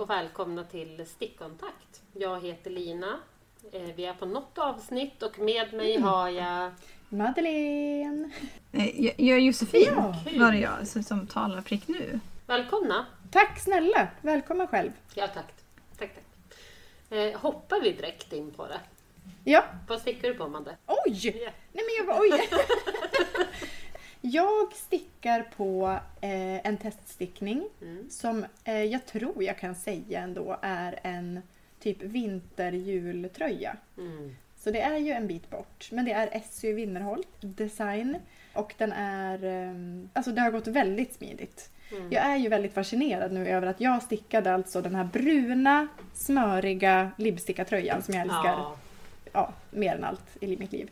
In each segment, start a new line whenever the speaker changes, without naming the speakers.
och välkomna till Stickkontakt. Jag heter Lina. Eh, Vi är på något avsnitt och med mig
Mm.
har jag...
Madeleine!
Eh, Jag, jag är Josefin
Ja.
var det jag som, som talar prick nu.
Välkomna!
Tack snälla! Välkommen själv.
Ja, tack. Tack, tack. Eh, hoppar vi direkt in på det?
Ja,
Vad stickar du på, Madde?
oj! Nej men jag var oj! jag stickar på eh, en teststickning
Mm.
som eh, jag tror jag kan säga ändå är en typ vinterjultröja.
Mm.
Så det är ju en bit bort. Men det är Essy Winnerholt Design. Och den är... ehm, Alltså det har gått väldigt smidigt.
Mm.
Jag är ju väldigt fascinerad nu över att jag stickade alltså den här bruna, smöriga libbstickartröjan som jag älskar ja.
Ja.
mer än allt i mitt liv.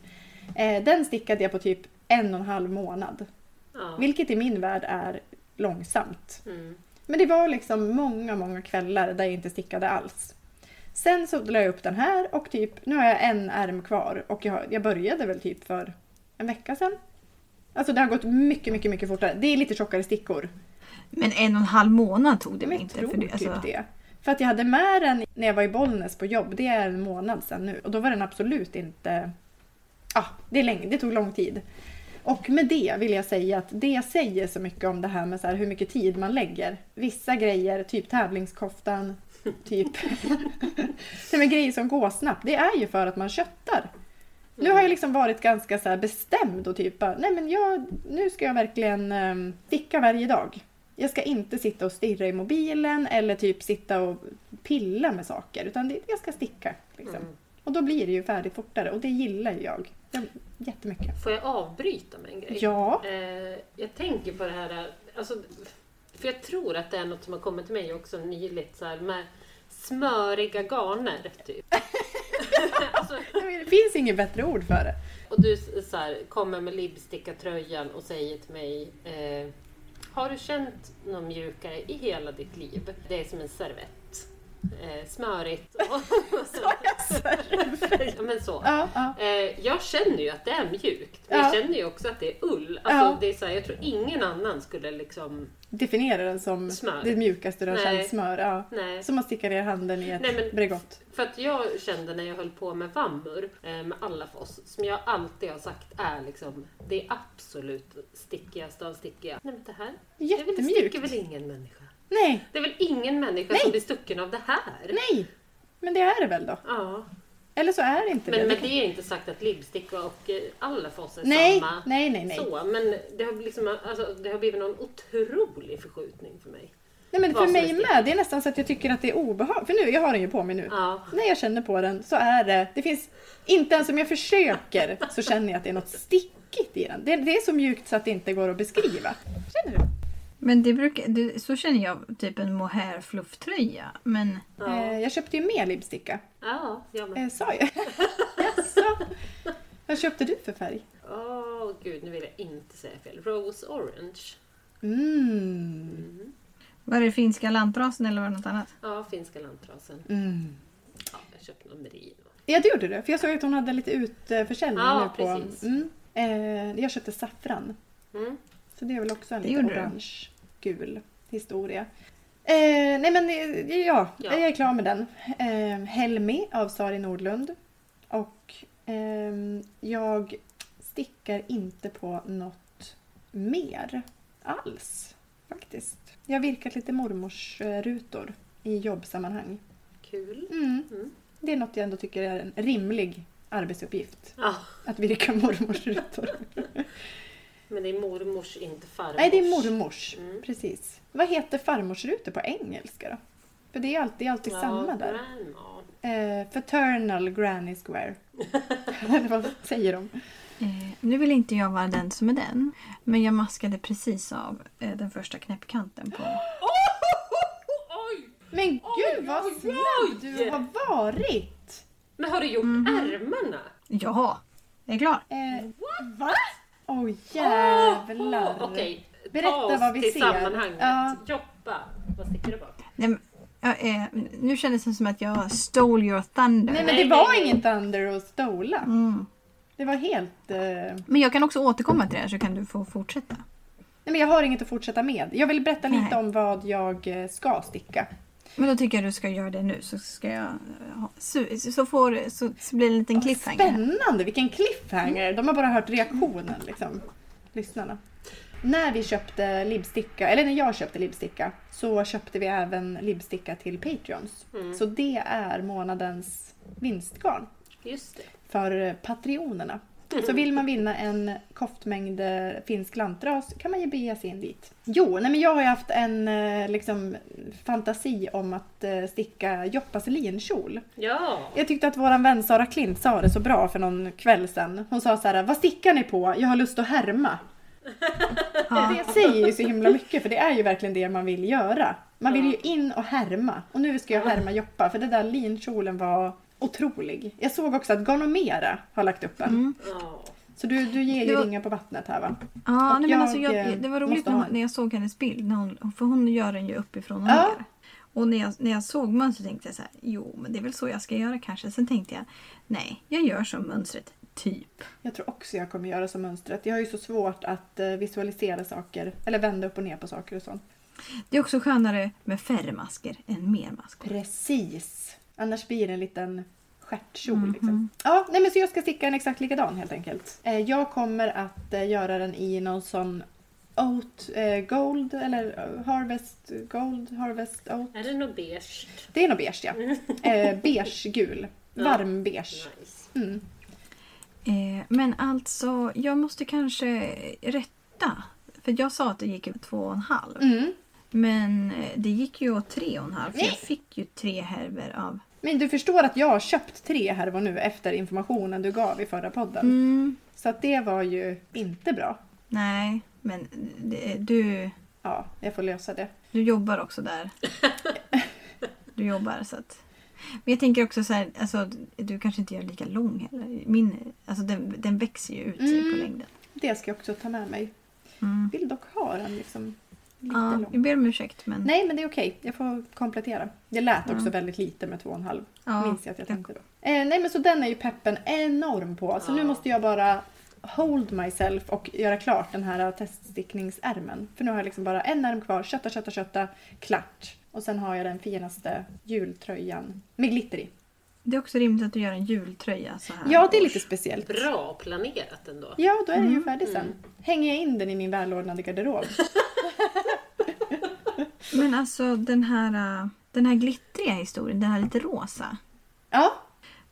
Eh, den stickade jag på typ en och en halv månad.
ja.
Vilket i min värld är långsamt.
Mm.
Men det var liksom många, många kvällar där jag inte stickade alls. Sen så la jag upp den här och typ, nu har jag en ärm kvar och jag, jag började väl typ för en vecka sedan. Alltså det har gått mycket, mycket, mycket fortare. Det är lite tjockare stickor.
Men en och en halv månad tog det
Men
väl
jag
inte?
tror
för det, alltså.
typ det. För att jag hade med den när jag var i Bollnäs på jobb, det är en månad sedan nu. Och då var den absolut inte... Ja, det, är länge, det tog lång tid. Och med det vill jag säga att det säger så mycket om det här med så här hur mycket tid man lägger. Vissa grejer, typ tävlingskoftan, typ... Nej, men grejer som går snabbt, det är ju för att man köttar. Nu har jag liksom varit ganska så här bestämd och typ bara, nej men jag, nu ska jag verkligen um, sticka varje dag. Jag ska inte sitta och stirra i mobilen eller typ sitta och pilla med saker utan det, jag ska sticka. Liksom.
Mm.
Och då blir det ju färdigt fortare och det gillar ju jag. jag jättemycket.
Får jag avbryta med en grej?
Ja.
Eh, jag tänker på det här, alltså, för jag tror att det är något som har kommit till mig också nyligt, så här, med smöriga garner. Typ. alltså,
Nej, men Det finns inget bättre ord för det.
och du så här, kommer med libbstickartröjan och säger till mig, eh, har du känt någon mjukare i hela ditt liv? Det är som en servett. Eh, smörigt. ja, men så.
Ja, ja.
Eh, jag känner ju att det är mjukt, men
Ja.
jag känner ju också att det är ull. Alltså,
Ja.
det är så här, jag tror ingen annan skulle liksom...
Definiera den som
Smör.
det mjukaste du har
Nej.
känt smör. Ja.
Nej.
Som man sticker ner handen i ett
Nej, men-
Bregott.
För att jag kände när jag höll på med vammor, eh, med alla foss, som jag alltid har sagt är liksom det absolut stickigaste av stickiga. Nej men det här, det är väl- sticker
Jättemjukt.
väl ingen människa?
Nej,
Det är väl ingen människa
Nej.
som blir stucken av det här?
nej. Men det är det väl då?
Ja,
Eller så är det inte
men
det.
med det är inte sagt att libbsticka och eh, alla foss är
Nej,
samma.
nej, nej, nej.
Så, men det har, liksom, alltså, det har blivit någon otrolig förskjutning för mig.
Nej men
Vad
för
som
mig
är stick.
med, det är nästan så att jag tycker att det är obehagligt. För nu, jag har den ju på mig nu.
Ja.
När jag känner på den så är det, det finns, inte ens om jag försöker så känner jag att det är något stickigt i den. Det, det är så mjukt så att det inte går att beskriva. Känner du?
Men det brukar, det, så känner jag typ en mohair flufftröja. Men
Ja,
Eh, jag köpte ju mer lipsticka,
ja jag med.
eh, sa jag. Jaså? Vad köpte du för färg?
Åh gud, nu vill jag inte säga fel. Rose Orange.
Mm.
var det finska lantrasen eller var det något annat?
Ja, finska lantrasen.
Mm.
Ja, jag köpte någon merino.
Ja, det gjorde du. För jag såg att hon hade lite utförsäljning
Ja,
nu på...
precis.
Mm. Eh, jag köpte saffran.
Mm.
Så det är väl också en
Det
lite
gjorde du.
orange-gul historia. Eh, nej men eh, ja,
Ja.
jag är klar med den. Eh, Helmi av Sari Nordlund. Och ehm, jag stickar inte på något mer alls faktiskt. Jag har virkat lite mormors eh, rutor i jobbsammanhang.
Kul.
Mm.
Mm.
Det är något jag ändå tycker är en rimlig arbetsuppgift.
Ah.
Ja,
Att virka mormors rutor.
men det är mormors, inte farmors.
Nej, det är mormors.
Mm.
Precis. Vad heter farmorsrutor på engelska då? För det är alltid, alltid
Ja,
samma där.
grandma.
Eh, fraternal granny square. Eller vad säger de?
Eh, nu vill inte jag vara den som är den. Men jag maskade precis av eh, den första knäppkanten på.
Oj!
Men gud vad
oj, oj!
snabb du har varit!
Men har du gjort
Mhm.
ärmarna?
Jaha, jag är klar.
Eh, Va? Åh jävlar!
Åh, Okej,
Berätta
ta oss
vad vi
till
ser.
sammanhanget.
Ja.
Joppa, vad sticker du på?
Nej, men, ja, eh, nu kändes det som att jag stole your thunder.
Nej men
Nej,
det var
nej, nej.
inget under och stola.
Mm.
Det var helt... Eh...
Men jag kan också återkomma till det här så kan du få fortsätta.
Nej men jag har inget att fortsätta med. Jag vill berätta lite
Nej.
om vad jag eh, ska sticka.
Men då tycker jag du ska göra det nu så ska jag eh, ha, så, så, får, så, så blir det en liten
Vad
cliffhanger. här.
Spännande, vilken cliffhanger! De har bara hört reaktionen, liksom. lyssnarna. När vi köpte libbsticka, eller när jag köpte libbsticka, så köpte vi även libbsticka till Patreons. Så det är månadens vinstgarn
Just det.
för patrionerna. Så vill man vinna en koftmängd eh, finsk lantras kan man ju bege sig in dit. Jo, nej men jag har ju haft en eh, liksom, fantasi om att eh, sticka Joppas linkjol.
Ja!
Jag tyckte att våran vän Sara Klint sa det så bra för någon kväll sedan. Hon sa så här, vad stickar ni på? Jag har lust att härma.
Ja.
Det säger ju så himla mycket för det är ju verkligen det man vill göra. Man vill ju in och härma. Och nu ska jag härma Joppa för det där linkjolen var otrolig. Jag såg också att Garnomera har lagt upp en.
Mm. ja.
Så du, du ger ju
Det var-
ringar på vattnet här va?
Ja,
Och
nej, men alltså
jag, eh,
jag, det var roligt
måste
när,
ha-
hon, när jag såg hennes bild. När hon, för hon gör den ju uppifrån och
Ja.
ner. Och när jag, när jag såg mönstret tänkte jag så här, jo men det är väl så jag ska göra kanske. Sen tänkte jag, nej jag gör som mönstret, typ.
Jag tror också jag kommer göra som mönstret. Jag har ju så svårt att eh, visualisera saker. Eller vända upp och ner på saker och sånt.
Det är också skönare med färre masker än mer masker.
Precis. Annars blir det en liten stjärtkjol.
Mhm.
Liksom. Ja, nej men så jag ska sticka en exakt likadan helt enkelt. Eh, jag kommer att eh, göra den i någon sån Oat eh, Gold eller eh, Harvest Gold, Harvest Oat.
Är det något beige?
Det är nog beige ja. Eh, beige-gul.
Ja.
Varm beige.
Nice.
Mm.
Eh, men alltså, jag måste kanske rätta. För jag sa att det gick åt två och en halv.
Mm.
Men eh, det gick ju åt tre och en halv. För
Nej.
jag fick ju tre härvor av...
Men du förstår att jag har köpt tre här och nu efter informationen du gav i förra podden.
Mm,
Så att det var ju inte bra.
nej, men eh, det, du...
Ja, jag får lösa det.
Du jobbar också där. Du jobbar så att... Men jag tänker också så här, alltså, du kanske inte gör lika lång heller. Min, alltså, den, den växer ju ut sig på
Mm.
längden.
Det ska jag också ta med mig.
Mm.
Vill dock ha den liksom lite
Ja,
lång.
jag ber om ursäkt men...
Nej, men det är okej. Jag får komplettera. Det lät också
Mm.
väldigt lite med 2,5.
ja,
Minns jag att jag tänkte då. Eh, nej, men så den är ju peppen enorm på. Så
Ja.
nu måste jag bara hold myself och göra klart den här eh, teststickningsärmen. För nu har jag liksom bara en ärm kvar. Kötta, kötta, kötta. Klart. Och sen har jag den finaste jultröjan med glitter i.
Det är också rimligt att du gör en jultröja så
Ah,
här.
Ja, det är
års.
lite speciellt.
Bra planerat ändå.
Ja, då är den ju färdig sen.
Mm.
Hänger jag in den i min välordnade garderob?
Men alltså den här, äh, den här glittriga historien, den här lite rosa.
Ja,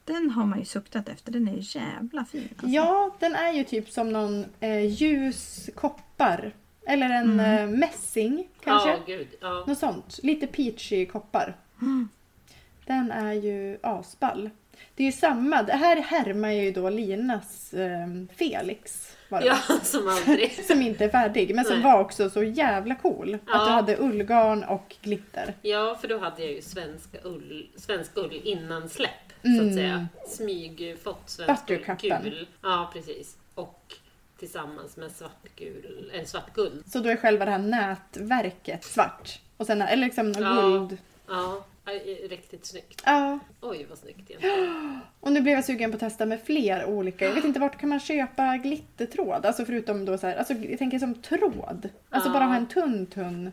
Den har man ju suktat efter. Den är ju jävla fin. Alltså.
Ja, den är ju typ som någon eh, ljus koppar. Eller en eh, mässing kanske.
Mm. Ja, gud. Ja.
Något sånt. Lite peachy koppar.
Mm.
Den är ju asball. Det är ju samma. Det här härmar ju då Linas eh, Felix. Var det
ja,
va?
som aldrig.
Som inte är färdig, men som
Nej.
var också så jävla cool.
Ja.
Att du hade ullgarn och glitter.
Ja, för då hade jag ju svenska ull, svensk ull innan släpp, så
Mm.
att säga. Smyg, fått svensk ull,
Buttercupen.
gul. Ja, precis. Och tillsammans med svartgul, eller svartguld.
Så då är själva det här nätverket svart. Och sen, eller liksom
Ja.
guld.
Ja, aj, riktigt snyggt.
Ja.
Oj, vad snyggt egentligen.
Och nu blev jag sugen på att testa med fler olika. Jag vet inte vart kan man köpa glittertråd? Alltså förutom då så här, alltså jag tänker som tråd. Alltså
Ja.
bara ha en tunn tunn.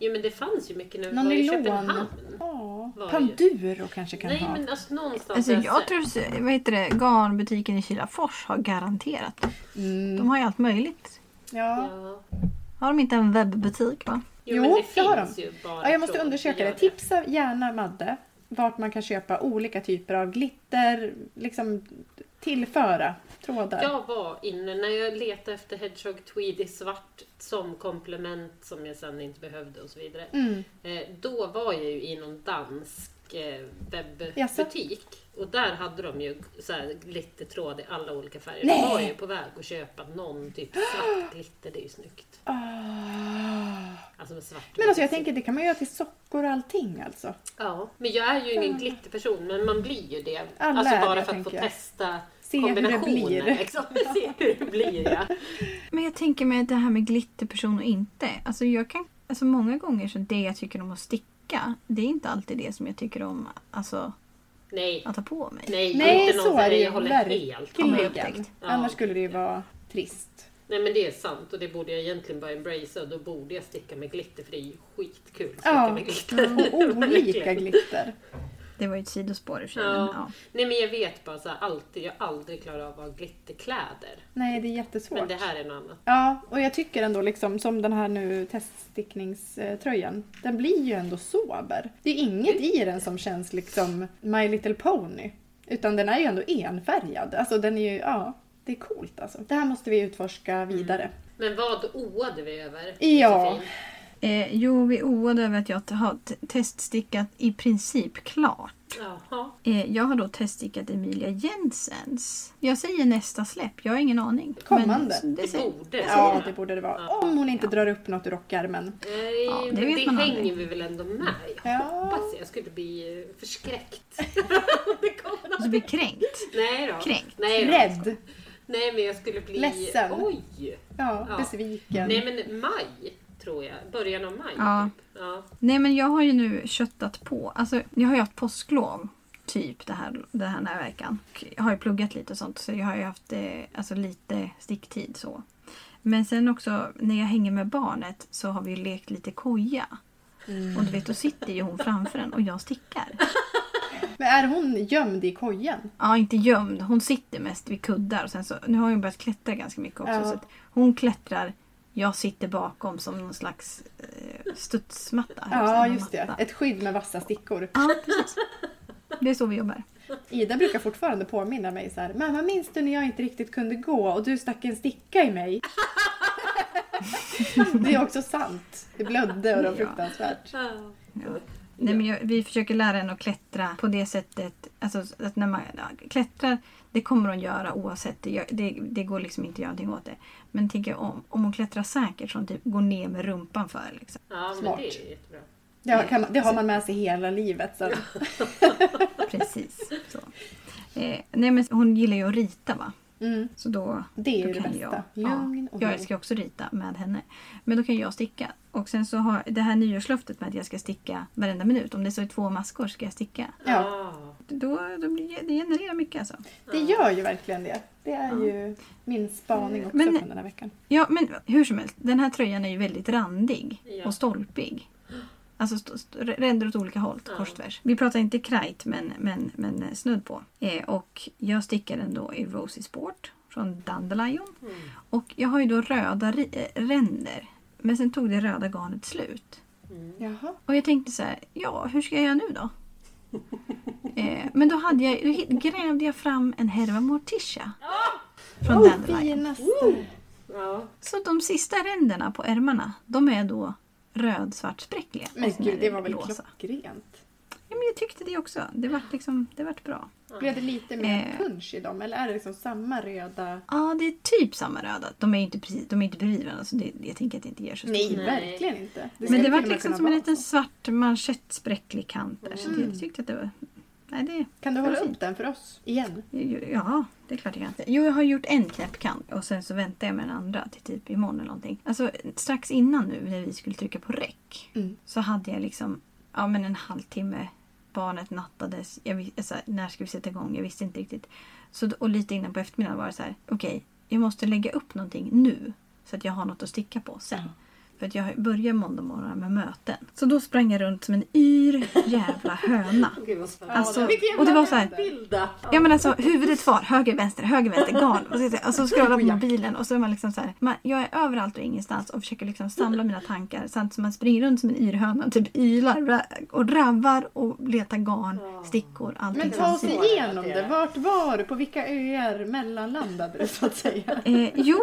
Jo, men det fanns ju mycket när vi
Någon
var i
nylon.
Köpenhamn.
Ja.
Var det ju.
Panduro kanske kan
Nej,
ha.
men alltså någonstans...
Alltså
har
jag
sett-
tror, så- vad heter det, garnbutiken i Kilafors har garanterat.
Mm.
De har ju allt möjligt.
Ja.
Ja.
Har de inte en webbutik va?
Jo,
Jo,
men det
det har de.
finns ju bara
ja, jag måste
tråd.
undersöka
Gör
det. Tipsa gärna Madde vart man kan köpa olika typer av glitter, liksom tillföra trådar.
Jag var inne, när jag letade efter Hedgehog Tweed i svart som komplement som jag sen inte behövde och så vidare.
Mm.
Eh, då var jag ju i någon dansk eh,
Jaså?
webbutik och där hade de ju så här glittertråd i alla olika färger.
Nej!
Då var jag ju på väg att köpa någon typ svart glitter, det är ju snyggt.
Ah.
Alltså med svart och
Men alltså jag
vitt.
tänker det kan man göra till sockor och allting alltså.
Ja, men jag är ju ingen glitterperson men man blir ju det.
Alla är
alltså
det,
bara för att få
tänker jag.
testa
Se hur det
kombinationer.
blir.
Liksom. Se hur det blir ja.
Men jag tänker mig det här med glitterperson och inte. Alltså jag kan, alltså många gånger så det jag tycker om att sticka, det är inte alltid det som jag tycker om alltså,
Nej,
att ha på mig.
nej,
Nej,
inte någon
så är det
färg.
ju
Jag håller helt
Har man
verkligen.
upptäckt.
Annars skulle det ju vara trist.
Nej men det är sant och det borde jag egentligen bara embracea och då borde jag sticka med glitter för det är ju skitkul att sticka
Ja,
med glitter.
och olika
Verkligen.
glitter.
Det var ju ett sidospår i och för sig.
Ja.
men Ja.
Nej men jag vet bara så här, alltid, jag har aldrig klarat av att ha glitterkläder.
Nej, det är jättesvårt.
Men det här är något annat.
Ja, och jag tycker ändå liksom som den här nu teststickningströjan. Den blir ju ändå sober. Det är
Mm.
inget i den som känns liksom My Little Pony. Utan den är ju ändå enfärgad. Alltså den är ju, ja, det är coolt alltså. Det här måste vi utforska
Mm.
vidare.
Men vad oade vi över?
Ja.
Josefin?
Eh, jo, vi oade över att jag t- har t- teststickat i princip klart.
Jaha.
Eh, jag har då teststickat Emilia Jensens. Jag säger nästa släpp, jag har ingen aning.
Kommande.
Men det
Det
säger-
borde
Ja,
vara.
det borde det vara.
Ja.
Om hon inte
Ja.
drar upp något ur rockärmen.
Nej,
Ja, det
men
vet
Eh, det
man
hänger
aldrig.
vi väl ändå med. Jag
Ja.
hoppas jag skulle bli eh, förskräckt. det kommer
Och så
något.
blir kränkt.
Nej då.
Kränkt.
Nej, då.
Rädd.
Nej men jag skulle bli...
Ledsen.
Oj!
Ja,
Ja.
besviken.
Nej men maj, tror jag. Början av maj.
Ja.
Typ. ja.
Nej men jag har ju nu köttat på. Alltså jag har ju haft påsklov typ det här, det här den här veckan. Och Jag har ju pluggat lite och sånt så jag har ju haft eh, alltså, lite sticktid så. Men sen också när jag hänger med barnet så har vi ju lekt lite koja. Och du vet då sitter ju hon framför en och jag stickar.
Men är hon gömd i kojen?
Ja, inte gömd. Hon sitter mest vid kuddar. Och sen så, nu har hon ju börjat klättra ganska mycket också.
Ja.
Så att hon klättrar, jag sitter bakom som någon slags eh, studsmatta.
Ja, just det.
Matta.
Ett skydd med vassa stickor.
Ja, precis. Det är så vi jobbar.
Ida brukar fortfarande påminna mig så här. Mamma minns du när jag inte riktigt kunde gå och du stack en sticka i mig? det är också sant. Det blödde och det var
Ja.
fruktansvärt.
Ja.
Nej, men jag, vi försöker lära henne att klättra på det sättet. Alltså, att när man ja, klättrar, det kommer hon göra oavsett. Det, gör- det, det går liksom inte att göra någonting åt det. Men tänk om, om hon klättrar säkert så hon typ går ner med rumpan för. Liksom.
ja, men
Smart.
det är jättebra.
Det har, kan, man- det har man med sig hela livet. Så.
Precis. Så. Eh, nej, men hon gillar ju att rita va?
Mm,
Så då
det är
Då
ju det
kan
bästa.
Jag,
Lugn
ja,
och
jag
ro.
älskar också rita med henne. Men då kan jag sticka. Och sen så har det här nyårslöftet med att jag ska sticka varenda minut. Om det så är två maskor ska jag sticka.
Ja,
Ah.
Då, då blir det, det genererar mycket alltså.
det gör ju verkligen det. Det är ju min spaning också
Men-
från den här veckan.
Ja, men hur som helst. Den här tröjan är ju väldigt randig
Ja.
och stolpig. Alltså st- st- ränder åt olika håll,
Ja.
kors tvärs. Vi pratar inte krajt, men, men, men eh, snudd på. Eh, och jag stickar den då i Rosie Sport från Dandelion.
Mm.
Och jag har ju då röda ri- eh, ränder. Men sen tog det röda garnet slut.
Mm.
Jaha.
Och jag tänkte så här, ja hur ska jag göra nu då? eh, men då, hade jag, då hit- grävde jag fram en härva morticia. Från
Oh,
Dandelion.
finaste.
Ja.
Så de sista ränderna på ärmarna, de är då röd svart spräckliga.
Men
Och sen
gud,
är
det var väl
rosa.
klockrent?
Ja, men jag tyckte det också. Det vart liksom, det vart bra.
Blev det lite mer
Eh.
punch i dem eller är det liksom samma röda?
Ja, det är typ samma röda. De är ju inte, precis, de är inte berivande, så det, jag tänker att det inte ger så stor-
Nej,
Nej.
verkligen inte.
Men
skulle
det
till och
vart
med
liksom
kunna
som en
vara
liten
så.
svart manschettspräcklig kant där. Så det,
Mm.
jag tyckte att det var... Nej, det,
Kan du hålla
Det var
upp den för oss? Igen?
Ja, det är klart jag kan. Jo, jag har gjort en knäppkant och sen så väntar jag med den andra till typ imorgon eller någonting. Alltså strax innan nu när vi skulle trycka på räck
Mm.
så hade jag liksom ja, men en halvtimme. Barnet nattades. Jag vis- så här, när ska vi sätta igång? Jag visste inte riktigt. Så, d- och lite innan på eftermiddagen var det så här. Okej, jag måste lägga upp någonting nu så att jag har något att sticka på sen. För att jag börjar måndag morgon med möten. Mm. Så då sprang jag runt som en yr jävla höna.
Ah, Gud vad spännande.
Alltså,
Vilken jävla
och det var så här,
Bilda.
Ja men alltså huvudet kvar, höger, vänster, höger, vänster, garn. Och så, och så scrollar man på mobilen och så är man liksom så här, man, Jag är överallt och ingenstans och försöker liksom samla mina tankar samtidigt som man springer runt som en yrhöna. Typ ylar ra- och rabbar och letar garn, stickor, allting.
Men ta oss
precis.
samtidigt.
igenom
Det är
det.
det.
Vart var du? På vilka öar mellanlandade du så att säga?
Eh, jo,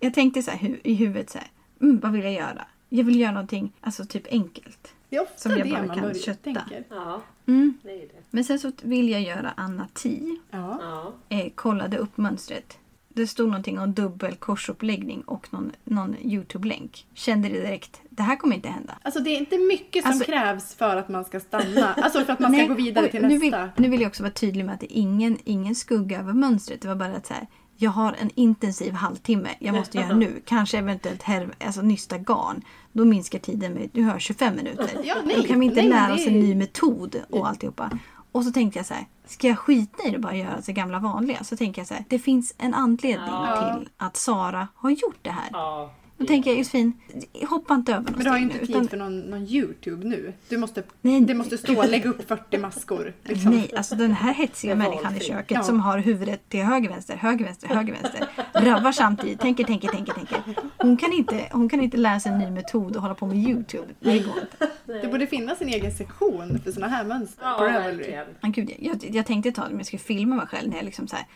jag tänkte så här hu- i huvudet så här, mm, vad vill jag göra? Jag vill göra någonting, alltså typ enkelt.
Det är ofta
Som jag
det
bara
man
kan
börjar
kötta.
tänker.
Ja,
Mm.
det är ju det.
Men sen så vill jag göra Anna 10
Ja.
Ja.
eh, kollade upp mönstret. Det stod någonting om dubbel korsuppläggning och någon, någon Youtube-länk. Kände det direkt, det här kommer inte hända.
Alltså det är inte mycket som
Alltså-
krävs för att man ska stanna. Alltså för att man ska
Nej,
gå vidare
och
till
nu
nästa.
Vill, nu vill jag också vara tydlig med att det är ingen, ingen skugga över mönstret. Det var bara att så här, jag har en intensiv halvtimme. Jag måste göra nu. Kanske eventuellt här, alltså nysta garn. Då minskar tiden med, du hör 25 minuter.
Ja,
Då
nej,
kan vi inte
nej, men
lära
det
oss
är-
en ny metod och alltihopa. Och så tänkte jag så här, ska jag skita i det och bara göra sig gamla vanliga? Så tänker jag så här, det finns en anledning
Ja.
till att Sara har gjort det här.
Ja.
Då tänker jag Josefin, hoppa inte över något
Men du har ju
steg
inte
nu,
tid
utan-
för någon, någon YouTube nu. Du måste,
Nej.
det måste stå lägg upp 40 maskor. Liksom.
Nej, alltså den här hetsiga
Det är
människan i
valfri.
köket
Ja.
som har huvudet till höger, vänster, höger, vänster, höger, vänster. Rabbar samtidigt, tänker, tänker, tänker, tänker. Hon kan inte, hon kan inte lära sig en ny metod och hålla på med YouTube. Det går inte.
Det borde finnas en egen sektion för sådana här mönster
Ja,
på Ravelry.
verkligen.
Men Gud, jag, jag tänkte ett tag om jag skulle filma mig själv när jag liksom så här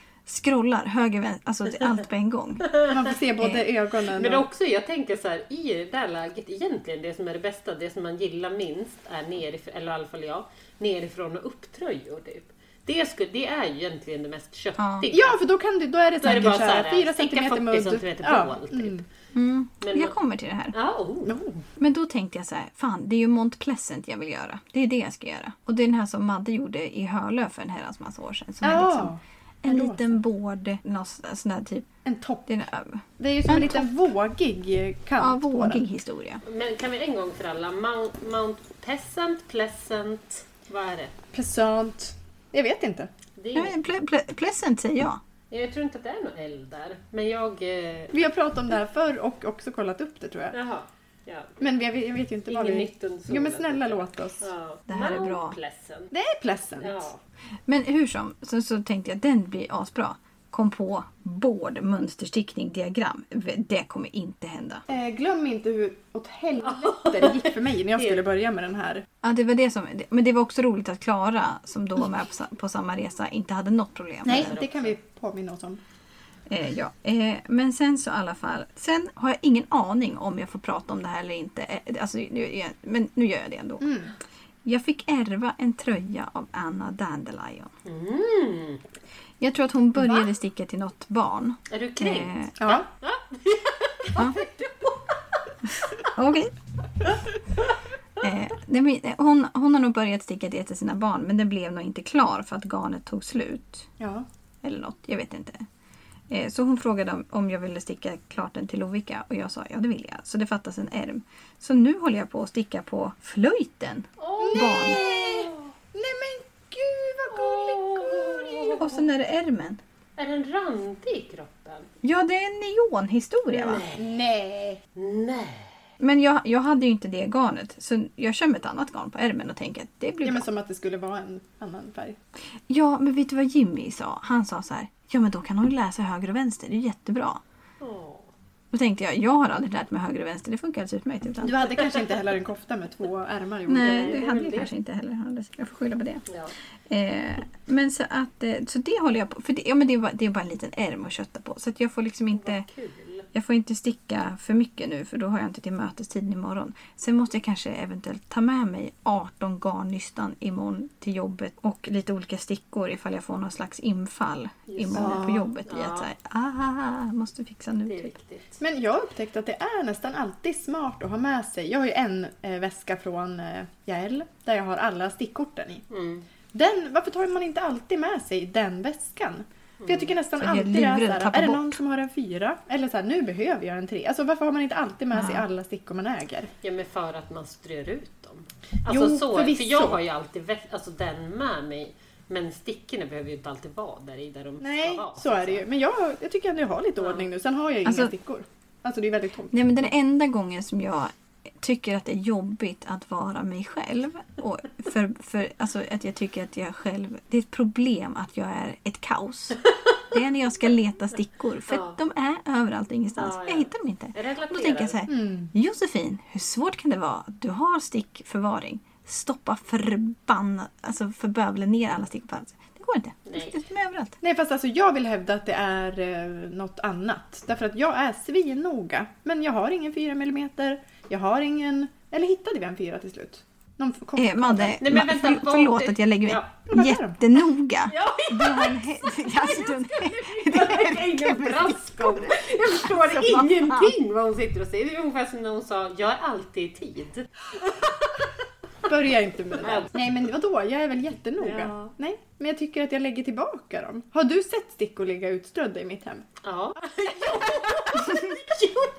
scrollar höger, vänster, alltså det- allt på en gång.
Man får se både ögonen
Men
och...
också, jag tänker så här, i det där läget egentligen, det som är det bästa, det som man gillar minst är nerifrån, eller i alla fall jag, nerifrån och upptröjor typ. Det, skulle, det är ju egentligen det mest köttiga.
Ja, för då, kan du, då är det
Då är det
säkert
bara
så här,
såhär,
4
sticka
centimeter
40
mudd.
centimeter
Ja.
bål typ.
Mm.
Men-
jag kommer till det här.
Ja, oh.
Oh.
Men då tänkte jag så här, fan det är ju Mont Pleasant jag vill göra. Det är det jag ska göra. Och det är den här som Madde gjorde i Hölö för en herrans massa år sedan. Som är
Ja,
liksom en
rosa.
liten board, någon sån här typ.
En topp.
Det är en,
Det är ju som en
En
liten vågig eh, kant
ja,
på
vågig
den.
historia.
Men kan vi en gång för alla, Mount, Mount Pleasant, Pleasant, vad är det?
Pesant. Jag vet inte.
det är inget,
Nej, men ple- ple- pleasant säger jag.
jag tror inte att det är något L där, men jag... Eh,
Vi har pratat om det här förr och också kollat upp det tror jag.
jaha. Ja.
Men vi- jag vet, jag vet ju inte vad
Inget
vi...
nytt under
Jo men snälla
solen. typ.
låt oss.
Ja.
Det här är
Mount
bra.
Pleasant.
Det är pleasant.
Ja.
Men hur som, så, så tänkte jag den blir asbra. Kom på board, mönsterstickning, diagram. Det kommer inte hända.
Eh, glöm inte hur åt helvete det gick för mig när jag
Det-
skulle börja med den här.
Ja, det var det som, men det var också roligt att Klara, som då var med på, sa- på samma resa, inte hade något problem.
Nej,
här
det kan vi påminna oss om.
Eh, ja. eh, men sen så i alla fall. Sen har jag ingen aning om jag får prata om det här eller inte. Eh, alltså, nu, är jag- men nu gör jag det ändå.
Mm.
Jag fick ärva en tröja av Anna Dandelion.
Mm.
Jag tror att hon började sticka till något barn.
Är du kränkt?
Eh,
Ja.
Okej. Eh, nej, men, eh, hon, hon har nog börjat sticka det till sina barn men den blev nog inte klar för att garnet tog slut.
ja.
Eller något, jag vet inte. Eh, så hon frågade om, om jag ville sticka klart den till Lovika och jag sa ja det vill jag. Så det fattas en ärm. Så nu håller jag på att sticka på flöjten.
Åh.
Barn.
Nej men gud vad gullig
Och sen är det ärmen.
Är den randig i kroppen?
Ja det är en neonhistoria va?
Nej.
Nej.
Men jag, jag hade ju inte det garnet så jag kör med ett annat garn på ärmen och tänker att det blir
Ja
bra.
men som att det skulle vara en annan färg.
Ja, men vet du vad Jimmy sa? Han sa så här, ja men då kan hon läsa höger och vänster, det är jättebra.
Åh.
Då tänkte jag, jag har aldrig lärt mig höger och vänster, det funkar alldeles utmärkt utan.
Du hade kanske inte heller en kofta med två ärmar i olika
Nej,
det är
det hade
väl
jag
det.
kanske inte heller. alldeles. Jag får skylla på det.
Ja.
Eh, men så att, eh, så det håller jag på. För det, ja, men det, är bara, det är bara en liten ärm att kötta på. Så att jag får liksom inte,
Kul.
jag får inte sticka för mycket nu för då har jag inte till mötestiden imorgon. Sen måste jag kanske eventuellt ta med mig 18 garn nystan imorgon till jobbet och lite olika stickor ifall jag får någon slags infall imorgon
det.
på jobbet i
Ja.
att såhär, ah, måste fixa nu.
Det är
Typ.
viktigt.
Men jag har upptäckt att det är nästan alltid smart att ha med sig. Jag har ju en eh, väska från eh, Jael där jag har alla stickkorten i.
Mm.
Den, varför tar man inte alltid med sig den väskan? För jag tycker nästan
Mm. Så det är
alltid det är
luren
såhär,
tappar
är det
bort.
någon som har en fyra? Eller såhär, nu behöver jag en tre. Alltså varför har man inte alltid med sig
Ja.
alla stickor man äger?
Ja, men för att man strör ut dem. Alltså,
Jo,
så,
förvisso.
för jag har ju alltid vä- alltså, den med mig. Men stickorna behöver ju inte alltid vara där i där de
Nej,
ska vara.
så är det ju. Men jag, jag tycker ändå jag har lite
Ja.
ordning nu. Sen har jag ju inga
Alltså-
stickor. Alltså det är väldigt tomt.
Nej men den enda gången som jag tycker att det är jobbigt att vara mig själv. Och för, för, alltså att jag tycker att jag själv... Det är ett problem att jag är ett kaos. Det är när jag ska leta stickor. För
Ja.
de är överallt och ingenstans.
Ja, ja.
Jag hittar dem inte.
Är det
Då
relaterat?
tänker jag så här.
Mm.
Josefin, hur svårt kan det vara? att Du har stickförvaring. Stoppa förbannat... Alltså förbövla ner alla stickor på alla sätt. Det går inte.
Nej.
Det är överallt.
Nej fast alltså jag vill hävda att det är eh, något annat. Därför att jag är svinnoga. Men jag har ingen 4 mm. Jag har ingen... Eller hittade vi en 4 till slut? Någon f- kort-
Eh, Madde,
men
ma-
vänta,
förl-
vad-
förlåt att jag lägger mig
Ja.
Vad är de?
jättenoga.
Ja,
Du har en he- alltså, du-
det är ingen braskom. Jag förstår ingenting vad hon sitter och säger. Det är ungefär som när hon sa, jag är alltid i tid.
Börja inte med det. Nej men vadå, jag är väl jättenoga.
Alltså. Ja.
Nej, Men jag tycker att jag lägger tillbaka dem. Har du sett stickor ligga utströdda i mitt hem?
Ja.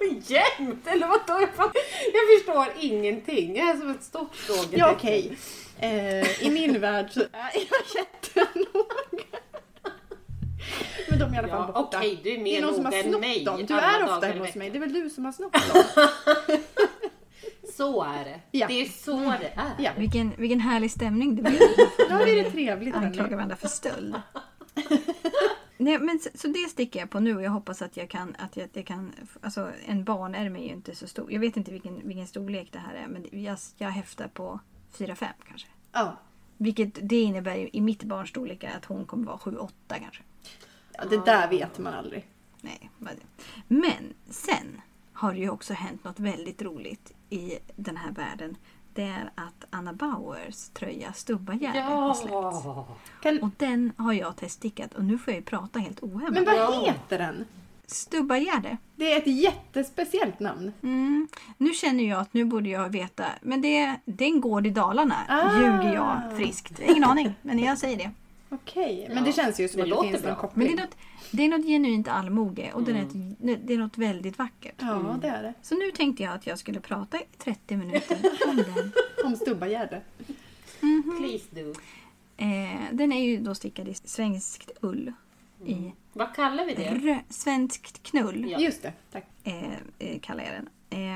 jo, jämt! Eller vadå? Jag, fatt- jag förstår ingenting. Jag är som ett stort frågetecken.
Ja, okej. Eh, I min värld så är jag jättenoga. Men de är i alla fall
Ja,
borta.
okej, du är
Det är
mer
någon som
noga
har
än
snott
mig.
dem. Du
alla
är
dagar
ofta
i
hemma hos
veckan.
mig. Det är väl du som har snott dem?
Så är det.
Ja.
Det är så det är.
Ja.
Vilken, vilken härlig stämning det blir.
Då är det trevligt. hörni.
Anklaga varandra för stöld. Nej, men så, så det sticker jag på nu och jag hoppas att jag kan... Att jag, att jag kan alltså, en barnärm är ju inte så stor. Jag vet inte vilken, vilken storlek det här är men jag, jag häftar på 4-5 kanske.
Ja.
Vilket det innebär ju i mitt barns storlek är att hon kommer vara 7-8 kanske.
ja, det där vet man aldrig.
Nej, vad är det? Men sen har det ju också hänt något väldigt roligt i den här världen. Det är att Anna Bauers tröja Stubbagärde har släppts.
Ja.
Kan,
Och den har jag teststickat och nu får jag ju prata helt
men
ohämmat.
vad heter den?
Stubbagärde.
Det är ett jättespeciellt namn.
Mm. Nu känner jag att nu borde jag veta. Men det, det är en gård i Dalarna.
Ah.
Ljuger jag friskt? Ingen aning, men jag säger det.
Okej, men
Ja,
det känns ju som
det
att det
låter
finns någon
bra.
koppling.
Men det är något, det är något genuint allmoge och
Mm.
den är ett, det är något Mm. väldigt vackert.
Ja, det är det.
Så nu tänkte jag att jag skulle prata i 30 minuter om den.
Om Stubbagärde.
Mm-hmm. Please do.
Eh, den är ju då stickad i svenskt ull.
Mm.
I
Vad kallar vi
Mm-hmm.
det?
rö- svenskt knull
Ja.
Just det, tack.
eh, eh, kallar jag den.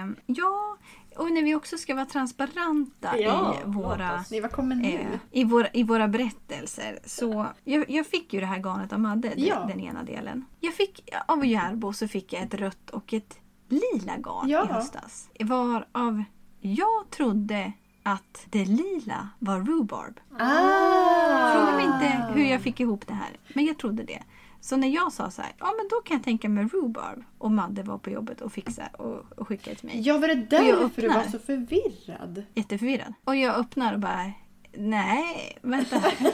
Eh, ja, och när vi också ska vara transparenta
Ja,
i, våra,
låt oss.
Nej, vad kommer nu?
eh, i, våra, i våra berättelser. Så jag, jag fick ju det här garnet av Madde, den-
Ja.
den ena delen. Jag fick, av Järbo så fick jag ett rött och ett lila garn
Ja.
i höstas. Varav jag trodde att det lila var rhubarb.
Ah!
Fråga mig inte hur jag fick ihop det här, men jag trodde det. Så när jag sa så här, ja men då kan jag tänka mig rhubarb och Madde var på jobbet och fixade och, och skickade till mig.
Ja, var det
jag
därför du
öppnar.
var så förvirrad?
Jätteförvirrad. Och jag öppnar och bara, nej, vänta här.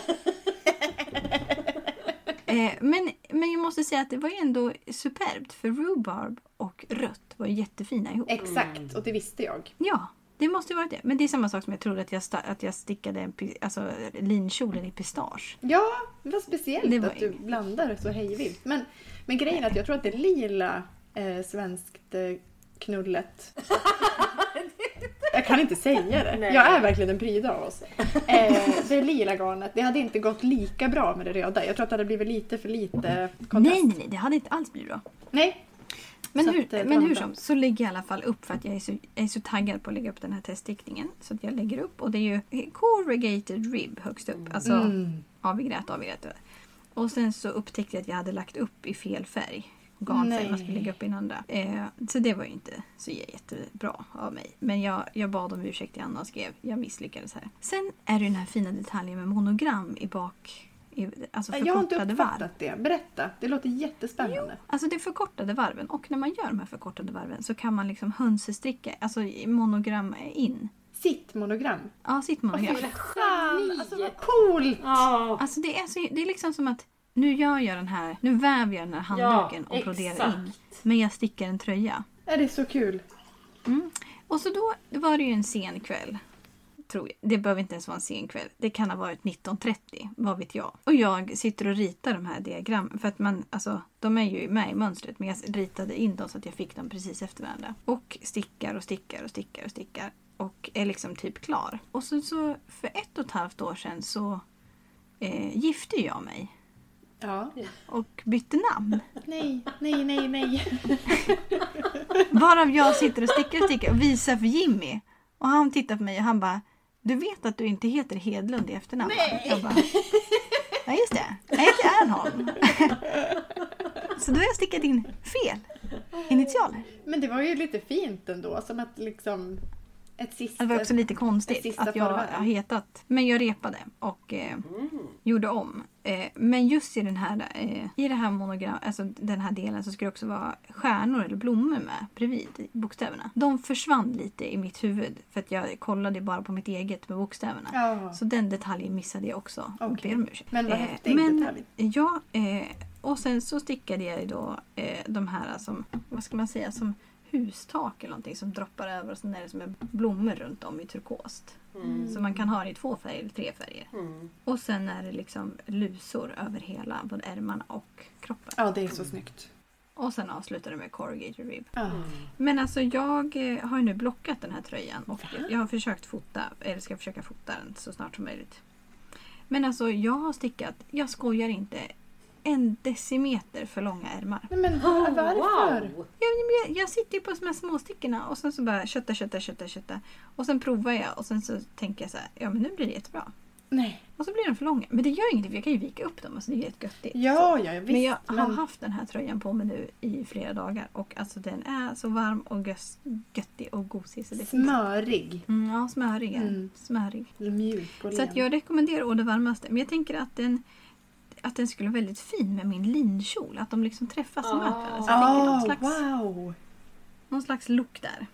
Eh, men, men jag måste säga att det var ju ändå superbt för rhubarb och rött var jättefina ihop.
Exakt, och det visste jag.
Ja, det måste ju varit det. Men det är samma sak som jag trodde att jag, sta- att jag stickade en, pi- alltså, linkjolen i pistage.
Ja, vad speciellt
Det var
att du blandar så hejvilt. Men, men grejen är att jag tror att det lila eh, svenskt eh, knullet... Jag kan inte säga det.
Nej.
Jag är verkligen en pryda av oss. Eh, det lila garnet, det hade inte gått lika bra med det röda. Jag tror att det hade blivit lite för lite kontrast.
Nej, nej, nej, det hade inte alls blivit bra.
Nej.
Men
Så att,
hur,
eh,
men
det
hur
var
som, så lägger jag i alla fall upp för att jag är så, jag är så taggad på att lägga upp den här teststickningen. Så att jag lägger upp och det är ju corrugated rib högst upp. Alltså
Mm.
avigrätt, avigrätt. Och sen så upptäckte jag att jag hade lagt upp i fel färg. Garnfärg,
Nej.
man skulle lägga upp i en andra. Eh, så det var ju inte så jä- jättebra av mig. Men jag, jag bad om ursäkt i Anna och skrev jag misslyckades här. Sen är det ju den här fina detaljen med monogram i bak... I, alltså
eh, Jag har inte
förkortade varv.
uppfattat det. Berätta, det låter jättespännande.
Alltså det är förkortade varven och när man gör de här förkortade varven så kan man liksom hönsestricka, alltså i monogram in.
Sitt monogram.
Ja, sitt monogram.
Jävla
Fan,
geni!
alltså vad coolt!
Ja.
Alltså det är, så, det är liksom som att nu gör jag den här, nu väver jag den här handduken och broderar in. Men jag stickar en tröja.
Är det är så kul?
Och så då det var det ju en sen kväll. Tror jag. Det behöver inte ens vara en sen kväll. Det kan ha varit 19.30, vad vet jag. Och jag sitter och ritar de här diagrammen. För att man, alltså, de är ju med i mönstret. Men jag ritade in dem så att jag fick dem precis efter varandra. Och stickar och stickar och stickar och stickar. Och är liksom typ klar. Och så, så för ett och ett halvt år sedan så eh, gifte jag mig.
Ja.
Och bytte namn.
Nej, nej, nej, nej.
Varav jag sitter och stickar och stickar och visar för Jimmy. Och han tittar på mig och han bara Du vet att du inte heter Hedlund i efternamn? va?" Jag bara, Ja just det, jag heter Ernholm. Så då har jag stickat in fel initialer.
Men det var ju lite fint ändå, som att liksom... Ett sista...
Det var också lite konstigt
Sista
att jag
förvärv.
har hetat. Men jag repade och eh,
Mm.
gjorde om. Eh, men just i den här, eh, i det här monogram, alltså den här delen så ska det också vara stjärnor eller blommor med bredvid bokstäverna. De försvann lite i mitt huvud för att jag kollade bara på mitt eget med bokstäverna.
Ja.
Så Eh, den detaljen missade jag också. Jag
Okej.
ber om ursäkt.
Men vad häftig detalj.
Ja, eh, och sen så stickade jag ju då eh, de här som, vad ska man säga, som hustak eller någonting som droppar över och sen är det som en blommor runt om i turkost.
Mm.
Så man kan ha det i två färger eller tre färger.
Mm.
Och sen är det liksom lusor över hela, både ärmarna och kroppen.
Ja, det är
Mm.
så snyggt.
Och sen avslutar det med corrugated rib.
Ja.
Men alltså jag eh, har ju nu blockat den här tröjan och jag har försökt fota, eller ska försöka fota den så snart som möjligt. Men alltså jag har stickat, jag skojar inte, en decimeter för långa ärmar.
Nej, men va- varför?
Wow!
Jag, men jag, jag sitter ju på de här småstickorna och sen så bara kötta, kötta, kötta, kötta. Och sen provar jag och sen så tänker jag så här, ja men nu blir det jättebra.
Nej.
Och så blir de för långa. Men det gör ingenting för jag kan ju vika upp dem, alltså det är jättegöttigt.
Ja, ja, visst.
men jag har
men-
haft den här tröjan på mig nu i flera dagar och alltså den är så varm och gös, göttig och gosig. Så det finns-
Smörig.
Mm, ja, smörig. är den.
Mm.
smörig.
Mjuk och
Så
len.
att jag rekommenderar å det varmaste. Men jag tänker att den, att den skulle vara väldigt fin med min linkjol. Att de liksom träffas och
Ah.
möter varandra. Så jag
Ah,
tänker någon slags,
wow!
någon slags look där.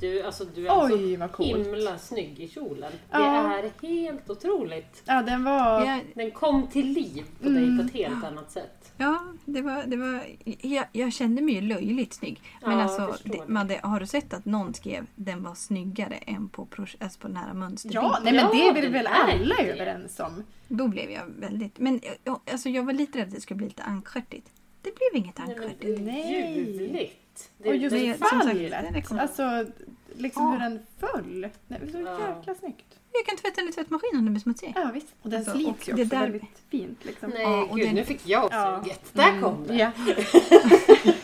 Du, alltså, du är så
Oj, vad coolt.
himla snygg i kjolen. Det
Ja.
är helt otroligt.
Ja, den var...
Jag,
Den kom till liv på dig
Mm.
på ett helt annat sätt.
ja, det var, det var, jag, jag kände mig ju löjligt snygg. Men
Ja, jag
alltså,
förstår
det,
det.
man, det, har du sett att någon skrev den var snyggare än på, proj- alltså på den här mönsterbilden?
Ja, nej, men det
Ja,
är vi
det
väl
är
alla
det.
överens om.
Då blev jag väldigt... Men jag- alltså, jag var lite rädd att det skulle bli lite ankskärtigt. Det blev inget
Nej, men
ankskärtigt.
det är
Nej.
ljuvligt. Det-
och just
det-
det är- som sagt, den är
fallet.
cool.
alltså, liksom
Ja.
hur den föll. Det var så
Ja.
jäkla snyggt.
Jag kan tvätta den i tvättmaskinen om den blir smutsig.
Ja, visst. Och den
Alltså, och
slits ju
det
också
där-
väldigt fint. Liksom.
Nej,
Ja, och
gud,
den- Mm.
nu fick jag
Ja.
suget. Där kom det.
Ja.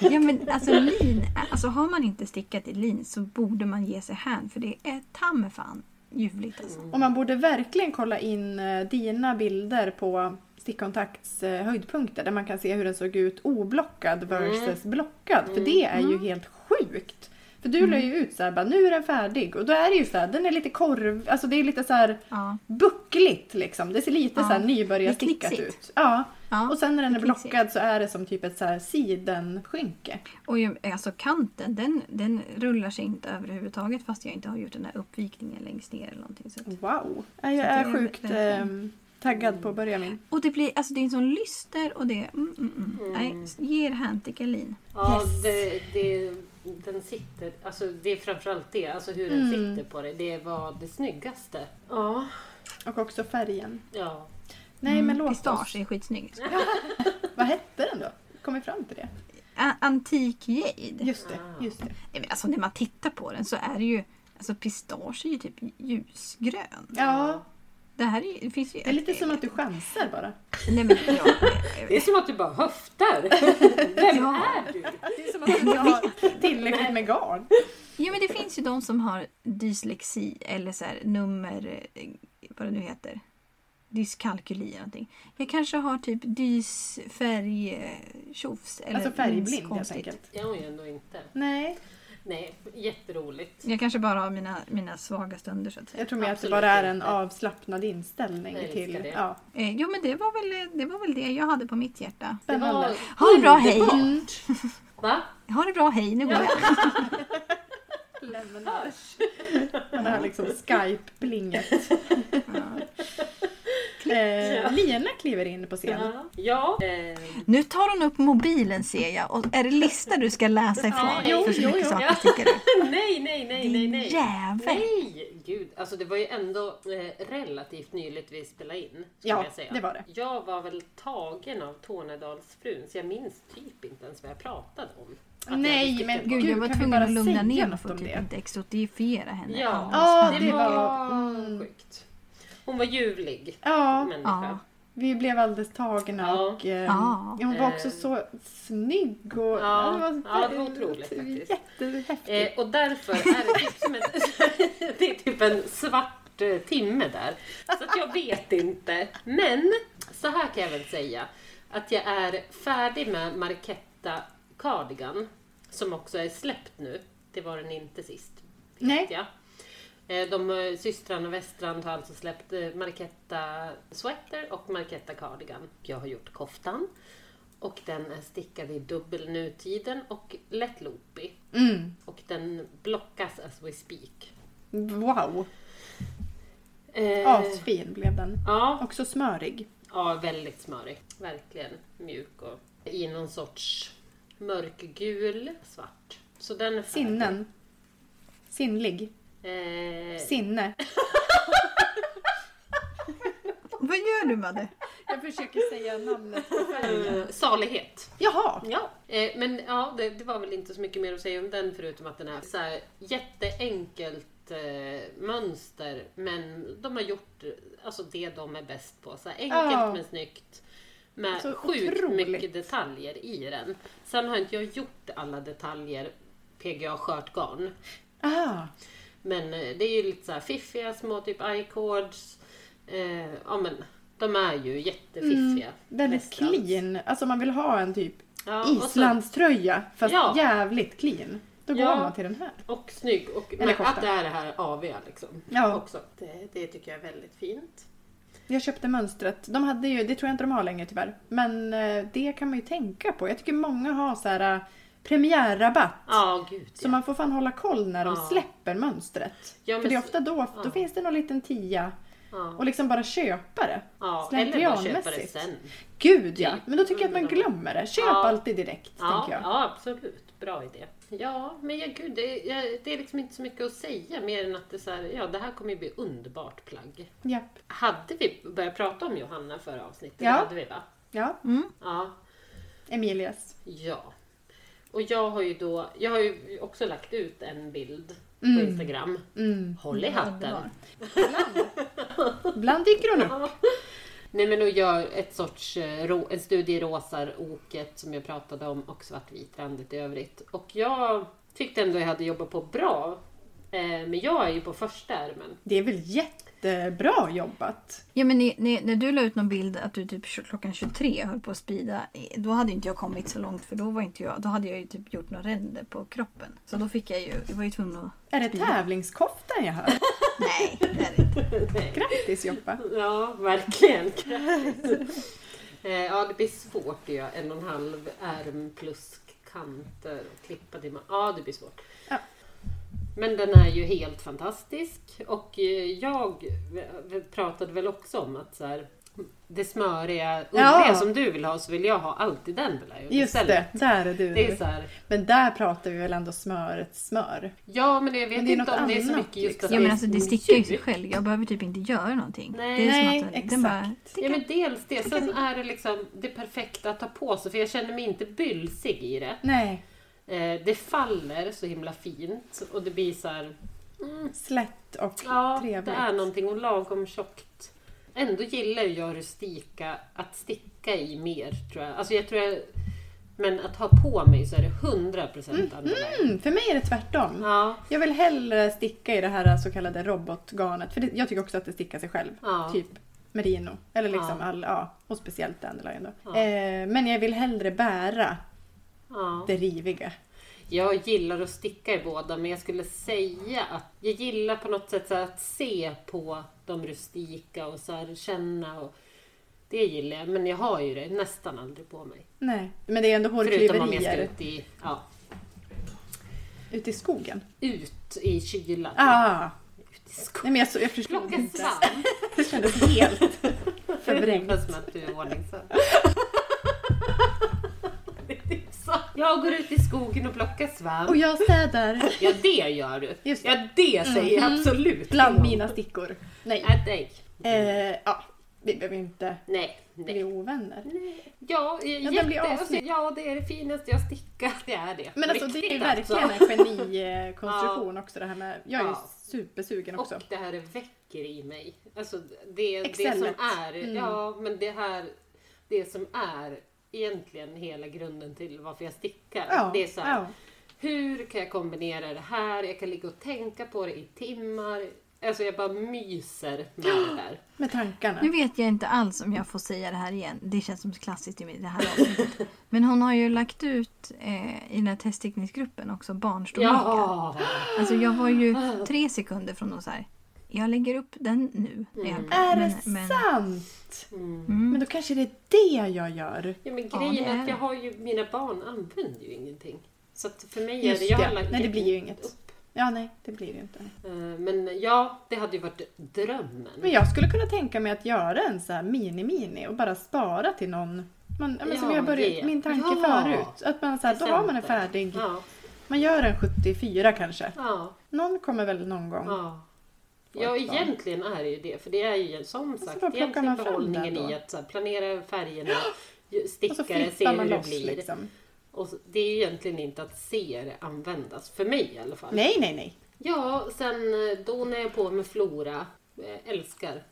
Ja men alltså lin, alltså har man inte stickat i lin så borde man ge sig hän för det är ta mig fan ljuvligt alltså.
Mm.
Och man borde verkligen kolla in eh, dina bilder på stickkontakts eh, höjdpunkter där man kan se hur den såg ut oblockad versus blockad. För det är ju helt sjukt. För du la ju ut så här, bara, nu är den färdig. Och då är det ju så här, den är lite korv, alltså det är lite så här
Ja.
buckligt liksom. Det ser lite
Ja.
så här nybörjarstickat
Det är knixigt.
ut. Ja.
Ja,
Och sen när den
det
är
är knixigt.
blockad så är det som typ ett så här sidenskynke.
Och ju, alltså kanten den, den rullar sig inte överhuvudtaget fast jag inte har gjort den här uppvikningen längst ner eller någonting. Så. att-
Wow! Nej, Jag
Så det
är
är
sjukt
verkligen-
ehm, taggad på att börja min.
Och det blir, alltså det är en sån lyster och det, mm, mm, mm.
Mm.
Nej, ge er hän till Kalin.
Ja,
Yes.
det, det, den sitter. Alltså, det är framförallt det, alltså hur den
Mm.
sitter på dig. Det var det snyggaste. Ja.
Och också färgen.
ja.
Nej men låt
Mm, Pistage
oss.
är skitsnygg.
Vad hette den då? Kom vi fram till det?
A- Antik jade.
Just det,
Ah.
just det.
Nej, men alltså när man tittar på den så är det ju, alltså pistage är ju typ ljusgrön.
Ja,
Det här är, det finns ju...
det är lite som att du chansar bara.
Nej men ja,
Det är som att du bara höftar. Vem
Ja.
är du?
Det är som att du inte har tillräckligt med garn.
ja men det finns ju de som har dyslexi eller så här, nummer... eh, Vad det nu heter. Dyskalkyli eller någonting. Jag kanske har typ dysfärgtjofs. eller
Alltså färgblind helt
konstigt.
enkelt.
Jag är ju ändå inte.
Nej,
Nej, jätteroligt.
Jag kanske bara har mina, mina svaga stunder så att säga.
jag tror mer att det
Absolut
bara är en
inte.
avslappnad inställning
Jag älskar
till...
det.
Ja,
Eh, jo men det var, väl, det var väl det jag hade på mitt hjärta.
Det var
spännande.
Ha det bra, hej!
underbart. Va?
Ha det bra, hej! Nu går jag.
Hörs.
Man har liksom Skype-plinget.
Ja.
Eh, Lina kliver in på scen.
Ja. ja. Eh,
Nu tar hon upp mobilen ser jag. Och är det lista du ska läsa ifrån?
Ja, jo,
för så
jo,
mycket
jo.
saker
Ja.
sticker ut.
nej, nej, nej, nej,
Din
nej.
jävel!
Nej! Gud, alltså det var ju ändå eh, relativt nyligt vi spelade in. skulle
Ja,
jag säga.
det var det.
Jag var väl tagen av Tornedalsfrun så jag minns typ inte ens vad jag pratade om. Att jag
Nej,
hade
men
stycken
Gud,
Gud,
jag var
kan vi
tvungen
bara
att lugna
säga
ner mig
något
för
om
att typ
det?
inte exotifiera henne.
Ja,
Ja,
det
det
var
var-
sjukt. Hon var ljuvlig
Ja,
människa.
Ja.
vi blev alldeles tagna
Ja.
och eh,
Ja.
hon var också
Eh.
så snygg och...
Ja,
det
ja, det var otroligt faktiskt. Eh,
Jättehäftigt.
och därför är det typ som en, det är typ en svart eh, timme där. Så att jag vet inte. Men så här kan jag väl säga att jag är färdig med Marketta Cardigan som också är släppt nu. Det var den inte sist. vet
Nej.
Jag. Eh, De eh, systrarna Westrand har alltså släppt eh, Marketta Sweater och Marketta Cardigan. Jag har gjort koftan och den är stickad i dubbel nutiden och lätt loopy.
Mm.
Och den blockas as we speak.
Wow!
Eh,
Asfin blev den.
ja,
Också smörig.
ja, väldigt smörig. Verkligen mjuk och i någon sorts mörkgul, svart. Så den är färdig.
Sinnen. Sinnlig.
Eh,
Sinne.
Vad gör du Madde?
Jag försöker säga namnet på
eh, salighet.
Jaha!
Ja, eh, men ja, det, det var väl inte så mycket mer att säga om den förutom att den är så här jätteenkelt eh, mönster men de har gjort alltså det de är bäst på. Så här, enkelt
Ja.
men snyggt. Med
Så
sjukt
otroligt.
mycket detaljer i den. Sen har inte jag gjort alla detaljer PGA skört garn.
Ah,
Men eh, det är ju lite så här fiffiga små typ i-cords. Eh, ja men de är ju jättefiffiga.
Mm, väldigt
mestadels.
clean. Alltså man vill ha en typ
Ja, och så-
islandströja fast
Ja.
jävligt clean. Då
Ja.
går man till den här.
Och snygg. Och
Eller
men
korta.
att det är det här aviga liksom.
Ja.
Också. Det, det tycker jag är väldigt fint.
Jag köpte mönstret. De hade ju, det tror jag inte de har längre tyvärr. Men eh, det kan man ju tänka på. Jag tycker många har så här eh, premiärrabatt.
Ja, gud
Så
ja.
man får fan hålla koll när de
Ja.
släpper mönstret.
Ja,
För
men
det är
så-
ofta då, då
ja.
finns det någon liten tia.
ja.
Och liksom bara köpa det.
ja. Eller bara köpa det
slentrianmässigt.
sen.
Gud ja!
Typ.
Men då tycker jag att man
Mm.
glömmer det. Köp
Ja.
alltid direkt,
Ja,
tänker jag.
ja, absolut. Bra idé. Ja, men ja, gud, det, jag, det är liksom inte så mycket att säga mer än att det, är så här, ja, det här kommer ju bli underbart plagg.
Japp.
Hade vi börjat prata om Johanna förra avsnittet?
Ja.
Hade vi, va?
Ja,
Mm. Ja.
Emilias.
Ja. Och jag har ju då, jag har ju också lagt ut en bild på Instagram.
Mm.
Håll i hatten.
Underbar.
Ibland dyker hon upp.
Nej men och gör ett sorts, eh, ro- en studie i rosar, oket som jag pratade om och svartvit randigt i övrigt. Och jag tyckte ändå jag hade jobbat på bra. Eh, Men jag är ju på första ärmen.
Det är väl jättebra jobbat?
Ja, men ni, ni, när du la ut någon bild att du typ klockan 23 höll på att spida, då hade inte jag kommit så långt för då var inte jag, då hade jag ju typ gjort några ränder på kroppen. Så då fick jag ju, jag var ju tvungen att...
Är det tävlingskoftan jag hör?
Nej, det är det inte.
Grattis Joppa!
Ja, verkligen. Grattis. Eh, ja, det blir svårt att göra en och en halv ärm plus kanter och klippa det. med- Ja, det blir svårt.
Ja.
Men den är ju helt fantastisk och eh, jag eh, pratade väl också om att så här, det smöriga ulliga
Ja.
som du vill ha så vill jag ha alltid den Belayo
Just det, där är du.
Det är så här,
Men där pratar vi väl ändå smöret smör?
ja men jag vet
Men det är
inte
något
om det är så
annat,
mycket just
liksom.
att
Ja, men alltså det sticker ju
mjuk.
sig själv. Jag behöver typ inte göra någonting.
Nej.
det är som att
Nej,
den bara
Ja,
sticker.
men dels det. Sen är det liksom det perfekta att ta på sig, för jag känner mig inte bylsig i det.
Nej,
Eh, det faller så himla fint och det blir så här,
slätt och
ja,
trevligt.
det är någonting och lagom tjockt. Ändå gillar ju jag rustika, att sticka i mer tror jag. Alltså jag tror jag, men att ha på mig så är det 100% andra vägen.
Mm, för mig är det tvärtom.
Ja,
Jag vill hellre sticka i det här så kallade robotgarnet. För det, jag tycker också att det stickar sig själv.
Ja.
Typ merino. Eller liksom
Ja.
all, ja. Och speciellt dandelion då.
Ja.
Eh, men jag vill hellre bära
ja.
det riviga.
Jag gillar att sticka i båda, men jag skulle säga att jag gillar på något sätt så här att se på de rustika och så här känna. Och, det gillar jag, men jag har ju det nästan aldrig på mig.
Nej, men det är ändå
Förutom om jag ska
hårklyverier
ut i, ja,
ute i skogen.
ut i kylan.
Ah,
Ut i
nej
skogen.
men jag, så, jag förstod
Plocka
inte.
svamp.
Det kändes helt förvrängt.
Det är som att du är ordningsam. Det är typ så. Jag går ut i skogen och plockar
Och
svamp.
jag städar
Ja, det gör du.
Just det.
Ja, det säger jag
Mhm.
absolut.
bland mina stickor. Nej,
Ät ägg.
eh, ja, vi behöver inte
Nej, nej.
bli ovänner.
Ja,
Mm. Ja,
eh,
den blir
jätte, alltså,
avsnitt.
ja, det är det finaste jag stickat. Det är det.
Men alltså det är ju
Riktigt,
verkligen
alltså.
en genikonstruktion också det här med. Jag är ju
Ja.
supersugen också.
Och det här väcker i mig. Alltså det, det som
Excellet.
är,
Mm.
ja men det här, det som är egentligen hela grunden till varför jag stickar.
Ja,
det är så här,
ja.
hur kan jag kombinera det här? Jag kan ligga och tänka på det i timmar. Alltså jag bara myser med det här.
Med tankarna.
Nu vet jag inte alls om jag får säga det här igen. Det känns som klassiskt i mig, det här avsnittet. Men hon har ju lagt ut eh, i den här testteknikgruppen också barnstorlekar.
Ja!
Alltså jag var ju tre sekunder från att så här. Jag lägger upp den nu. när jag kan."
Mm. Är det
Men- men-
sant?
Mm.
Men då kanske det är det jag gör.
Ja, men
Ja,
grejen
det
är
är
att
det.
jag har ju, mina barn använder ju ingenting. Så att för mig är
Just
det, jag har
det.
lagt
Nej, det blir ju
upp.
inget. Ja, nej, det blir det ju inte.
Eh, Men ja, det hade ju varit drömmen.
Men jag skulle kunna tänka mig att göra en så här mini-mini och bara spara till någon. Man, ja, men som
Ja,
jag började,
det.
min tanke
Ja.
förut. Att man så här, då har man en färdig
Ja.
Man gör en 74 kanske.
Ja,
Någon kommer väl någon gång.
ja. ja
Ett barn.
egentligen är det ju det. För det är ju som sagt
bara plockar
egentligen
man fram
behållningen
den då.
i att så här, planera färgerna, ju-
Och så
sticka det, se
flyttar
hur
man
det
loss
blir.
liksom.
Och så- det är ju egentligen inte att se det användas, för mig i alla fall.
Nej, nej, nej.
Ja, sen eh, då när jag är på med Flora, eh, älskar,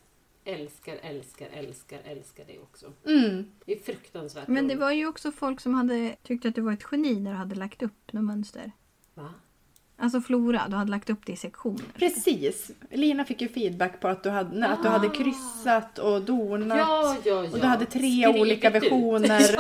älskar, älskar, älskar, älskar det också.
Mm.
Det är fruktansvärt
Men det
roligt.
var ju också folk som hade tyckt att du var ett geni när du hade lagt upp något mönster.
Va?
Alltså Flora, du hade lagt upp det i sektioner.
Precis. Lina fick ju feedback på att du hade, att du hade kryssat och donat.
Ja, ja, ja.
Och du hade tre
Skrivit
olika
ut.
versioner.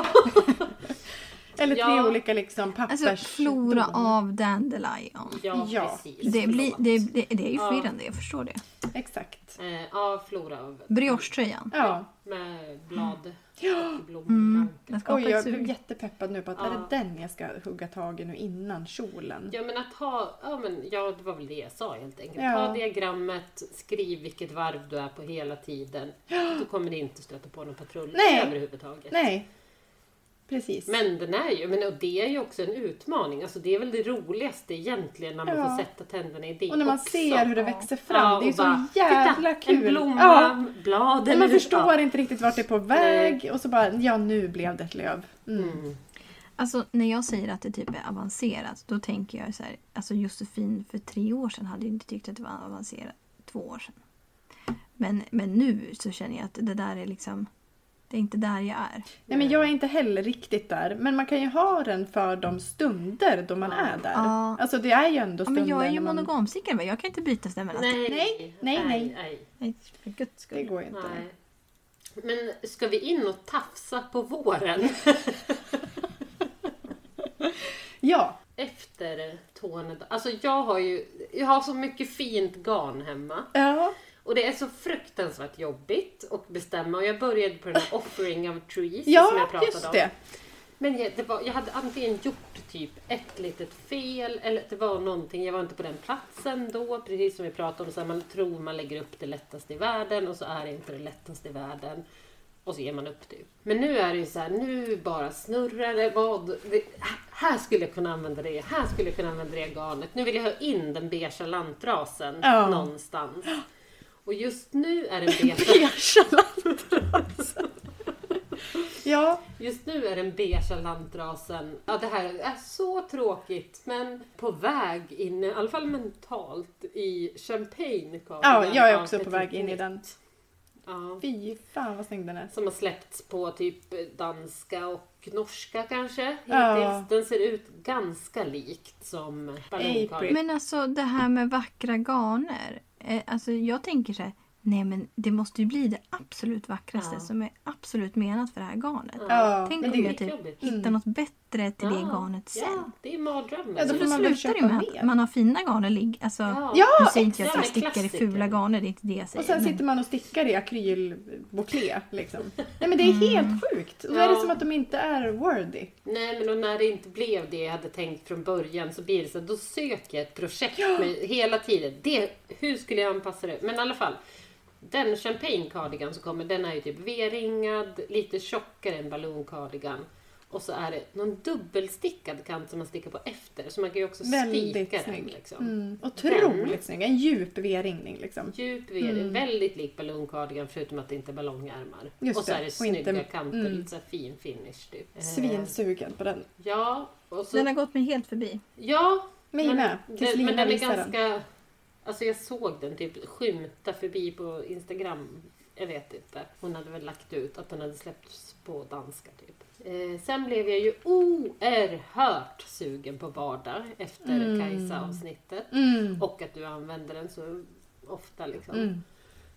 Eller tre
Ja.
olika liksom pappers...
Alltså Flora
don.
av Dandelion.
Ja,
Ja.
precis.
Det, blir,
Förlåt.
det, det, det är ju
Ja.
förvirrande, jag förstår det.
Exakt.
Eh, ja, Flora av...
Brioche-tröjan.
Ja.
Med blad och
Mm.
blommor.
Den skapar
Oj, jag
ett
blev
sug.
jättepeppad nu på att
Ja.
är det den jag ska hugga tag i nu innan kjolen?
Ja men att ha, ja men ja, det var väl det jag sa helt enkelt.
Ja.
Ta diagrammet, skriv vilket varv du är på hela tiden. Då kommer det inte stöta på någon patrull
Nej.
överhuvudtaget.
Nej. Precis.
Men den är ju, men och det är ju också en utmaning. Alltså det är väl det roligaste egentligen när man
Ja.
får sätta tänderna i det
och när man
också.
ser hur det
Ja.
växer fram. det är
och
ju
bara,
så
titta,
jävla kul.
En blomma,
ja.
blad
Men
eller-
man förstår inte riktigt vart det är på väg och så bara, ja nu blev det ett löv. Mm.
Mm.
Alltså när jag säger att det typ är avancerat, då tänker jag så här, alltså Josefin för tre år sedan hade ju inte tyckt att det var avancerat. Två år sedan. Men, men nu så känner jag att det där är liksom, det är inte där jag är.
Nej men jag är inte heller riktigt där. Men man kan ju ha den för de stunder då man
Ja.
är där.
Ja.
Alltså det är ju ändå
Ja,
stunder
men jag är ju
när man...
monogamsickare, men jag kan inte byta stämmen.
Nej,
Nej, nej, nej.
nej.
Nej, för guds
Det
skull.
går ju inte.
nej. Men ska vi in och tafsa på våren?
Ja,
Efter Tornedalen. Alltså jag har ju jag har så mycket fint garn hemma.
ja,
Och det är så fruktansvärt jobbigt att bestämma. Och jag började på den här offering of trees som
ja
jag pratade
just
om.
det.
Men jag, det var, jag hade antingen gjort typ ett litet fel eller det var någonting, jag var inte på den platsen då, precis som vi pratade om, så här, man tror man lägger upp det lättaste i världen och så är det inte det lättaste i världen. Och så ger man upp typ. Men nu är det ju så här, nu bara snurrar det, vad, det, här skulle jag kunna använda det, här skulle jag kunna använda det garnet. Nu vill jag ha in den beiga lantrasen
Ja.
någonstans. Och just nu är den beiga
Beige lantrasen. Ja,
Just nu är den beiga lantrasen, ja det här är så tråkigt, men på väg in, i alla fall mentalt, i champagne.
Ja, jag är också på väg in i den.
Ja,
fy fan vad snygg den är.
som har släppts på typ danska och norska kanske hittills.
Ja.
Den ser ut ganska likt som
April.
ballongkaka.
Men alltså det här med vackra garner. eh, Alltså jag tänker så här, nej men det måste ju bli det absolut vackraste
Ja.
som är absolut menat för det här garnet.
Ja,
Tänk
men
om
det är
jag typ
skitjobbigt.
hittar något bättre till det
Ja,
garnet
Ja,
sen.
det är mardrömmen.
Ja, då
Så
får
då
man väl
slutar det
köpa
med att
mer.
Alltså, man har fina garner ligg. Alltså,
Ja,
nu säger inte jag att jag
exakt.
stickar i
Klassiker.
fula garner, det är inte det jag säger.
Och sen
men-
sitter man och stickar i akrylbuklé. Liksom. Nej men det är helt sjukt. Och då är det
Mm. Ja.
som att de inte är worthy.
Nej, men och när det inte blev det jag hade tänkt från början så blir det så här, då söker jag ett projekt med, hela tiden. Det, hur skulle jag anpassa det? Men i alla fall, den champagne cardigan som kommer, den är ju typ V-ringad, lite tjockare än ballon cardigan. Och så är det någon dubbelstickad kant som man stickar på efter, så man kan ju också
Väldigt
stika
snygg.
den. Liksom.
Mm. Otroligt snygg. En djup V-ringning liksom.
Djup V, det är väldigt lik ballon cardigan förutom att det inte är ballongärmar.
Just
och så
det,
är det
och
snygga
inte-
kanter,
mm.
lite så här fin finish typ. Eh,
Svinsugen på den.
Ja, och så,
Den har gått mig helt förbi.
ja,
Mig med. Tills
den, men
Lina
den är
visar den.
ganska... Alltså jag såg den typ skymta förbi på Instagram. Jag vet inte. Hon hade väl lagt ut att den hade släppts på danska typ. Eh, sen blev jag ju oerhört sugen på vardag efter
Mm.
Kajsa-avsnittet.
Mm.
Och att du använder den så ofta liksom.
Mm.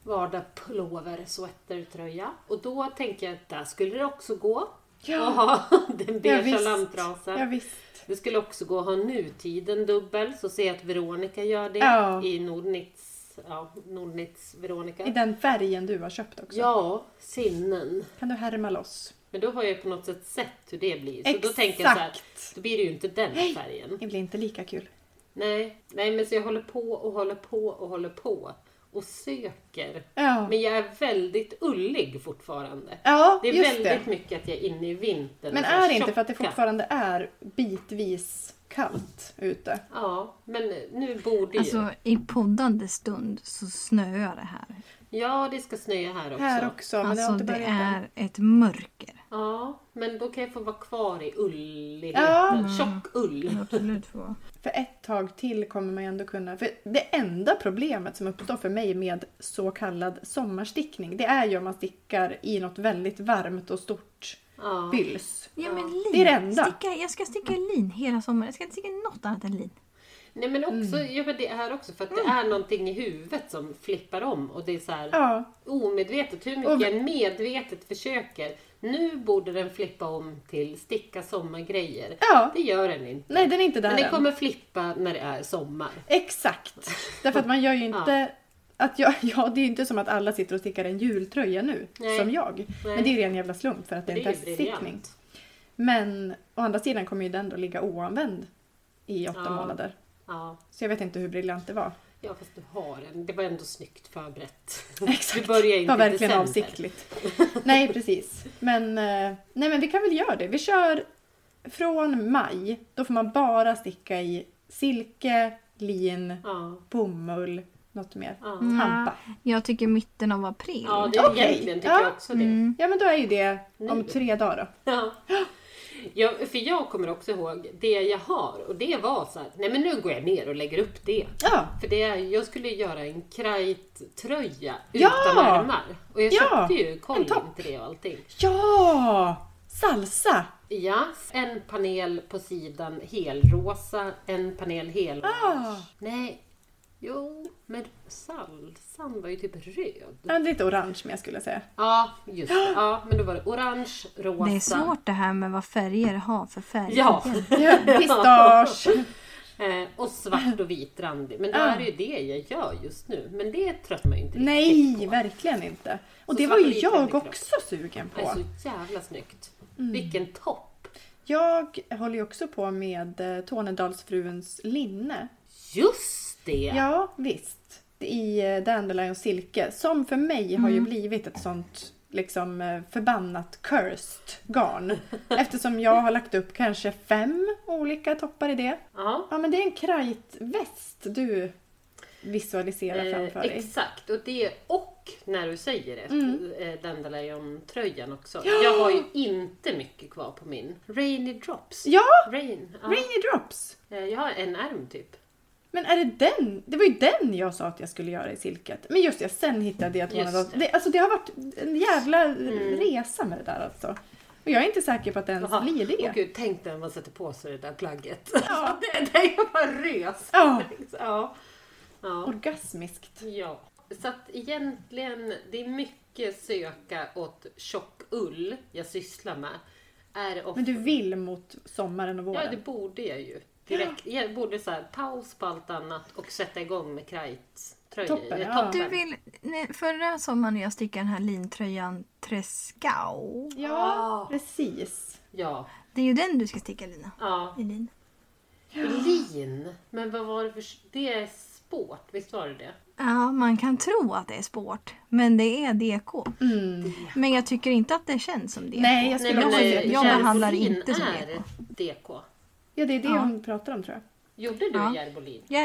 Vardag, pullover, sweater, tröja. Och då tänkte jag att där skulle det också gå.
Ja.
Att ha den
Ja,
beiga
visst.
lantrasen.
Ja, visst.
Det skulle också gå att ha nutiden dubbel, så se att Veronica gör det
Ja.
i Nordnitz, ja, Nordnitz Veronica.
I den färgen du har köpt också.
Ja, sinnen.
Kan du härma loss?
Men då har jag på något sätt sett hur det blir. Så då
Exakt.
tänker jag så här, då blir det ju inte den
Nej.
färgen.
Det blir inte lika kul.
Nej, nej men så jag håller på och håller på och håller på. och söker.
Ja,
Men jag är väldigt ullig fortfarande.
ja
Det är
just det.
väldigt mycket att jag är inne i vintern.
Men
och så här
är det inte för att det
tjocka.
fortfarande är bitvis kallt ute?
Ja, men nu borde ju...
Alltså i poddande stund så snöar det här.
Ja, det ska snöa här också.
Här också, men det har
alltså
inte
det,
börjat än.
är ett mörker.
Ja, men då kan jag få vara kvar i ulligheten.
Ja.
Tjock
Det
ull.
kan absolut få vara.
För ett tag till kommer man ju ändå kunna... För det enda problemet som uppstår för mig med så kallad sommarstickning, det är ju om man stickar i något väldigt varmt och stort
Ja.
bylls.
Ja, men lin.
Det är det enda.
Sticka, jag ska sticka lin hela sommaren. Jag ska inte sticka något annat än lin.
Nej men också,
Mm.
ja, men det är också för att det är någonting i huvudet som flippar om och det är så här
Ja,
omedvetet, hur
Och-
mycket jag medvetet försöker. Nu borde den flippa om till sticka sommargrejer.
ja.
Det gör den inte.
Nej, den är inte där
Men den
än.
kommer flippa när det är sommar.
Exakt! Därför att man gör ju inte... Att jag, ja, det är ju inte som att alla sitter och stickar en jultröja nu,
Nej.
som jag. Men det är ju ren jävla slump för att det är en
Det är ju
teststickning.
briljant.
Men å andra sidan kommer ju den då ligga oanvänd i åtta
Ja.
månader.
Ja.
Så jag vet inte hur briljant det var.
ja, fast du har den. Det var ändå snyggt förberett.
Exakt.
Du börjar
Det
inte
var
i
verkligen
december.
avsiktligt. Nej, precis. Men, eh, nej, men vi kan väl göra det. Vi kör från maj. Då får man bara sticka i silke, lin,
Ja.
bomull, något mer.
Ja.
Hampa.
Jag tycker mitten av april.
Ja, det är
Okej.
egentligen tycker
Ja.
jag också det.
Mm.
Ja, men då är ju det om
Nu.
tre dagar då.
Ja. Ja, för jag kommer också ihåg det jag har och det var så här, nej men nu går jag ner och lägger upp det.
Ja,
För det, är- jag skulle göra en krajt-tröja
Ja!
utan ärmar. Och jag
Ja!
köpte ju
En
kollin
topp.
till det och allting.
ja! salsa!
Ja, en panel på sidan helrosa, en panel hel.
Ah.
Nej, jo, men salsan var ju typ röd.
Ja, lite orange med skulle jag säga.
Ja, just det. Ja, men då var det orange, rosa.
Det är svårt det här med vad färger har för färger.
Ja.
Ja, Pistage!
Eh, och svart och vit randig. Men då
Ja.
är det ju det jag gör just nu. Men det tröttnar man ju inte riktigt
Ah. Nej,
på.
verkligen inte. Och
Så
det var
svart och
ju
vit
jag
läderkropp.
också sugen
Det är
på.
så jävla snyggt.
Mm.
Vilken topp!
Jag håller ju också på med eh, Tornedalsfruns linne.
Just det!
Ja, visst. I eh, Dandelion silke. Som för mig har
Mm.
ju blivit ett sånt liksom eh, förbannat cursed garn. Eftersom jag har lagt upp kanske fem olika toppar i det.
Ja,
Ja men det är en krajtväst du visualiserar
eh,
framför dig. Mm.
exakt. Och det och när du säger det, eh, Dandelion-tröjan också. Jag har ju inte mycket kvar på min. Rainy drops.
Ja!
Rain. Ja.
Rainy drops!
Eh, Jag har en ärm typ.
Men är det den? Det var ju den jag sa att jag skulle göra i silket. Men just det, sen hittade jag
Just
Tornedals.
det. Mm.
Det, alltså det har varit en jävla resa med det där alltså. Och jag är inte säker på att det ens
Jaha.
blir det.
Åh gud, tänk när man sätter på sig det där plagget.
Ja.
det, det är bara rös.
Ja.
Ja. ja.
Orgasmiskt.
Ja, så att egentligen, det är mycket söka åt tjock ull jag sysslar med. Är ofta,
Men du vill mot sommaren och
Ja, det
våren?
borde jag ju. Direkt, Jag borde så här, paus på allt annat och sätta igång med krajttröjor.
Toppen,
Ja,
ja.
toppen.
Du vill, nej, förra sommaren när jag stickade den här lintröjan Trescau.
Ja,
Ah.
precis.
Ja,
Det är ju den du ska sticka Lina.
ja.
I lin.
Lin, men vad var det för... Det är sport, visst var det det?
Ja, man kan tro att det är sport, men det är DK. Men jag tycker inte att det känns som DK.
Mm. Nej, jag skulle
men,
också
eh,
säga att det
jag
känns-
behandlar
Järnbolin
inte som
är DK.
Ja, det är det
Ja.
hon pratar om tror jag.
Gjorde du
Ja.
järnbolin?
Jag,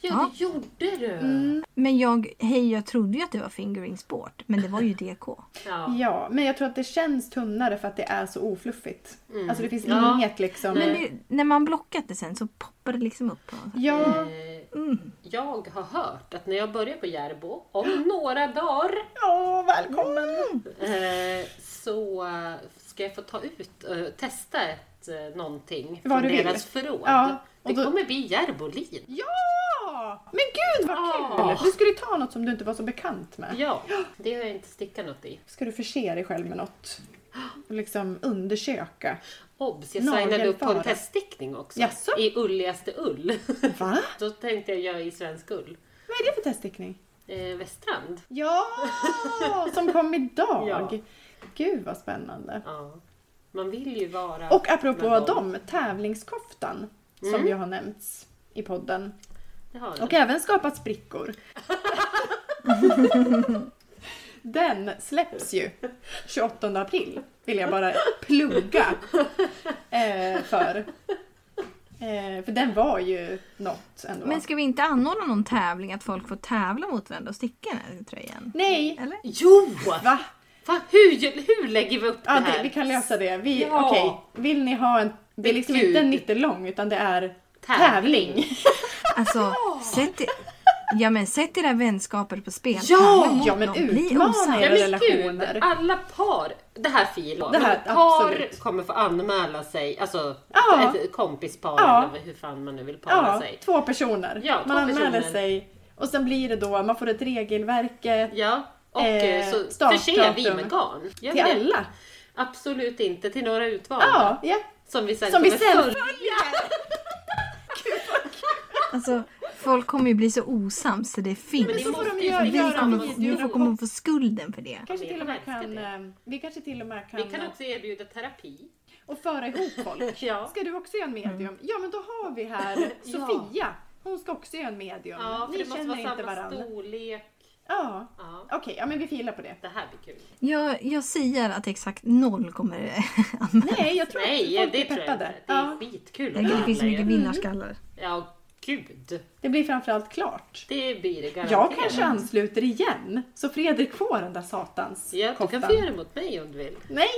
Ja,
Ja.
det gjorde du!
Mm.
men jag, hej, jag trodde ju att det var fingering sport, men det var ju DK.
Ja.
Ja, men jag tror att det känns tunnare för att det är så ofluffigt. Alltså det finns
Mm. Ja.
inget liksom...
Men det, när man blockat det sen så poppar det liksom upp. På något sätt.
Ja,
Eh,
Mm.
Jag har hört att när jag börjar på Järbo, om några dagar,
ja välkommen!
eh, så eh, ska jag få ta ut, eh, testa ett, eh, någonting
Vad
från
du vill.
deras förråd.
Ja, och
Det
då-
kommer bli Järbolin.
Ja! Men gud vad kul!
Ja.
Du skulle ju ta något som du inte var så bekant med.
Ja, det har jag inte stickat något i.
Ska du förse dig själv med något? Och liksom undersöka.
Obs, jag
Nagelfara.
signade upp på en teststickning också.
Jaså?
I ulligaste ull.
Va?
Då tänkte jag göra i svensk ull.
Vad är det för teststickning?
Eh, Västrand.
Ja! Som kom idag!
Ja.
Gud vad spännande.
Ja. Man vill ju vara
Och apropå
med
dem, tävlingskoftan
Mm.
som ju har nämnts i podden.
Det har
Och
den.
även skapat sprickor. Den släpps ju 28 april. Vill jag bara plugga eh, för. Eh, för den var ju något ändå.
Men ska vi inte anordna någon tävling att folk får tävla mot varandra och sticka den här tröjan?
Nej!
Eller?
Jo!
Va?
Fan, hur, hur lägger vi upp det
Ja, det,
här?
vi kan lösa det. Vi,
Ja.
Okej, vill ni ha en... Det är liksom
Gud.
inte en nittelång utan det är
Tävling.
tävling.
Alltså, sätt i, ja, men sätt era vänskaper på spel.
Ja!
Tävla mot
Ja, men
dem. Bli
utmana
osams.
er.
Ja, men
relationer.
gud, alla par. Det här fil.
Det här,
par
absolut.
kommer få anmäla sig. Alltså
Ja.
ett kompispar
Ja.
eller hur fan man nu vill para
Ja,
sig.
två personer.
Ja, två
man anmäler
personer.
sig och sen blir det då, man får ett regelverk eh,
Ja. Och
Eh,
eh, så förser
startdatum.
vi med garn. Gör vi
till
det?
alla.
Absolut inte, till några utvalda.
Ja, ja.
Som vi sen
Som vi
kommer
sen
följa.
Alltså, folk kommer ju bli så osams så det
Men
finns.
det
så får
måste
de
ju
göra
vi
Vi
göra
kommer,
på
videor
vi
video.
kommer få skulden för det.
Kanske till och med
Jag älskar
kan,
det.
eh, vi kanske till och med kan,
Vi kan också erbjuda terapi.
och föra ihop folk.
Ja.
Ska du också göra en medium? Ja, men då har vi här
Ja.
Sofia. Hon ska också göra en medium.
Ja, för
Mm. Ni
det måste
känner
vara
inte
samma
varandra.
storlek.
Ja,
Ja,
okej, ja, men vi filar på det.
det här blir kul.
Jag, jag säger att exakt noll kommer anmäla.
Nej, jag tror
Nej,
att folk
det
är
tror jag
peppade.
inte. Det är
ja.
skitkul. att
Det finns så
handla
mycket
ju.
vinnarskallar.
Ja, gud.
det blir framförallt klart.
Det blir det garanterat.
Jag kanske ansluter igen, så Fredrik får den där satans
Ja, du kan
koftan.
få göra det mot mig om du vill.
Nej,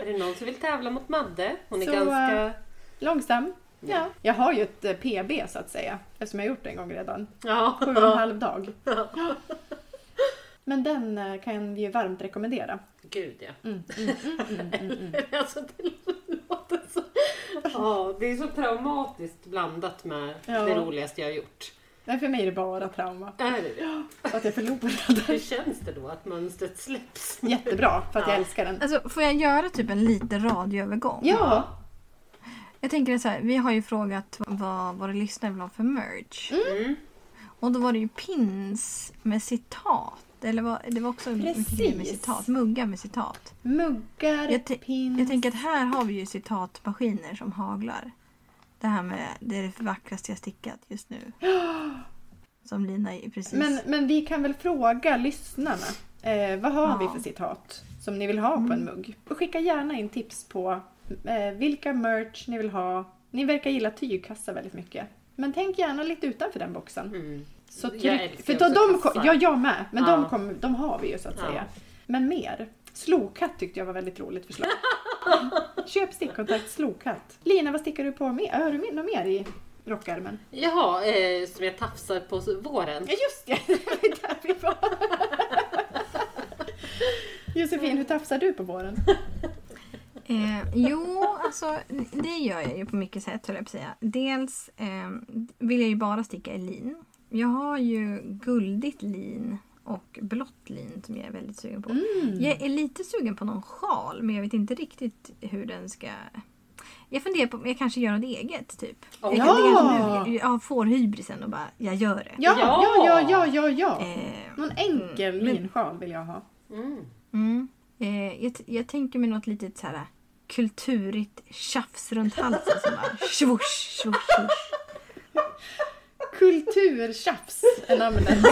Är det någon som vill tävla mot Madde? Hon är
Så,
ganska...
eh, långsam. Ja. Jag har ju ett eh, PB så att säga, eftersom jag har gjort det en gång redan. Sju och en
Ja.
halv dag. Men den eh, kan vi ju varmt rekommendera.
Gud ja.
Mm, mm, mm, mm, mm.
Alltså det låter så... Ja, det är så traumatiskt blandat med
Ja.
det roligaste jag har gjort.
Men för mig är det bara trauma.
Är det det?
Att jag förlorade.
Hur känns det då att mönstret släpps?
Jättebra, för att jag
Ja.
älskar den.
Alltså, får jag göra typ en liten radioövergång?
Ja,
Jag tänker så här, vi har ju frågat vad våra lyssnare vill ha för merch.
Mm.
Och då var det ju pins med citat. Eller vad, det var också mycket grejer med
Precis.
citat. Muggar med citat.
muggar,
Jag te-
pins.
Jag tänker att här har vi ju citatmaskiner som haglar. Det här med det är det vackraste jag stickat just nu. Som Lina ju precis...
men, men vi kan väl fråga lyssnarna. Eh, vad har
Ja. Mm.
vi för citat som ni vill ha på en mugg? Och skicka gärna in tips på eh, vilka merch ni vill ha. Ni verkar gilla tygkassar väldigt mycket. Men tänk gärna lite utanför den boxen.
Mm.
Så
Jag
tryck,
älskar
för då
också
de
kassar.
kom, ja, jag med. Men de,
Ja.
kom, de har vi ju så att
Ja.
säga. Men mer. Slokatt tyckte jag var väldigt roligt förslag. Köp stickkontakt slokatt. Lina, vad stickar du på mer? Har du mer- något mer i rockärmen?
Jaha, eh, som jag tafsar på så- våren.
Ja, just det! Det är där vi var. Josefin, hur tafsar du på våren?
Eh, jo, alltså det gör jag ju på mycket sätt höll jag på att säga. Dels eh, vill jag ju bara sticka i lin. Jag har ju guldigt lin och blått lin som jag är väldigt sugen på.
Mm.
Jag är lite sugen på någon sjal men jag vet inte riktigt hur den ska... Jag funderar på om jag kanske gör något eget typ. Jag,
Ja!
det är nu, jag får hybrisen och bara, jag gör det.
Ja, ja,
Ja.
ja, ja, ja, ja.
Eh,
Någon enkel
Mm.
linsjal vill jag ha.
Mm.
Mm. Eh, jag, t- jag tänker mig något litet så här kulturigt tjafs runt halsen som bara svors, svors, svors.
Kulturtjafs är namnet.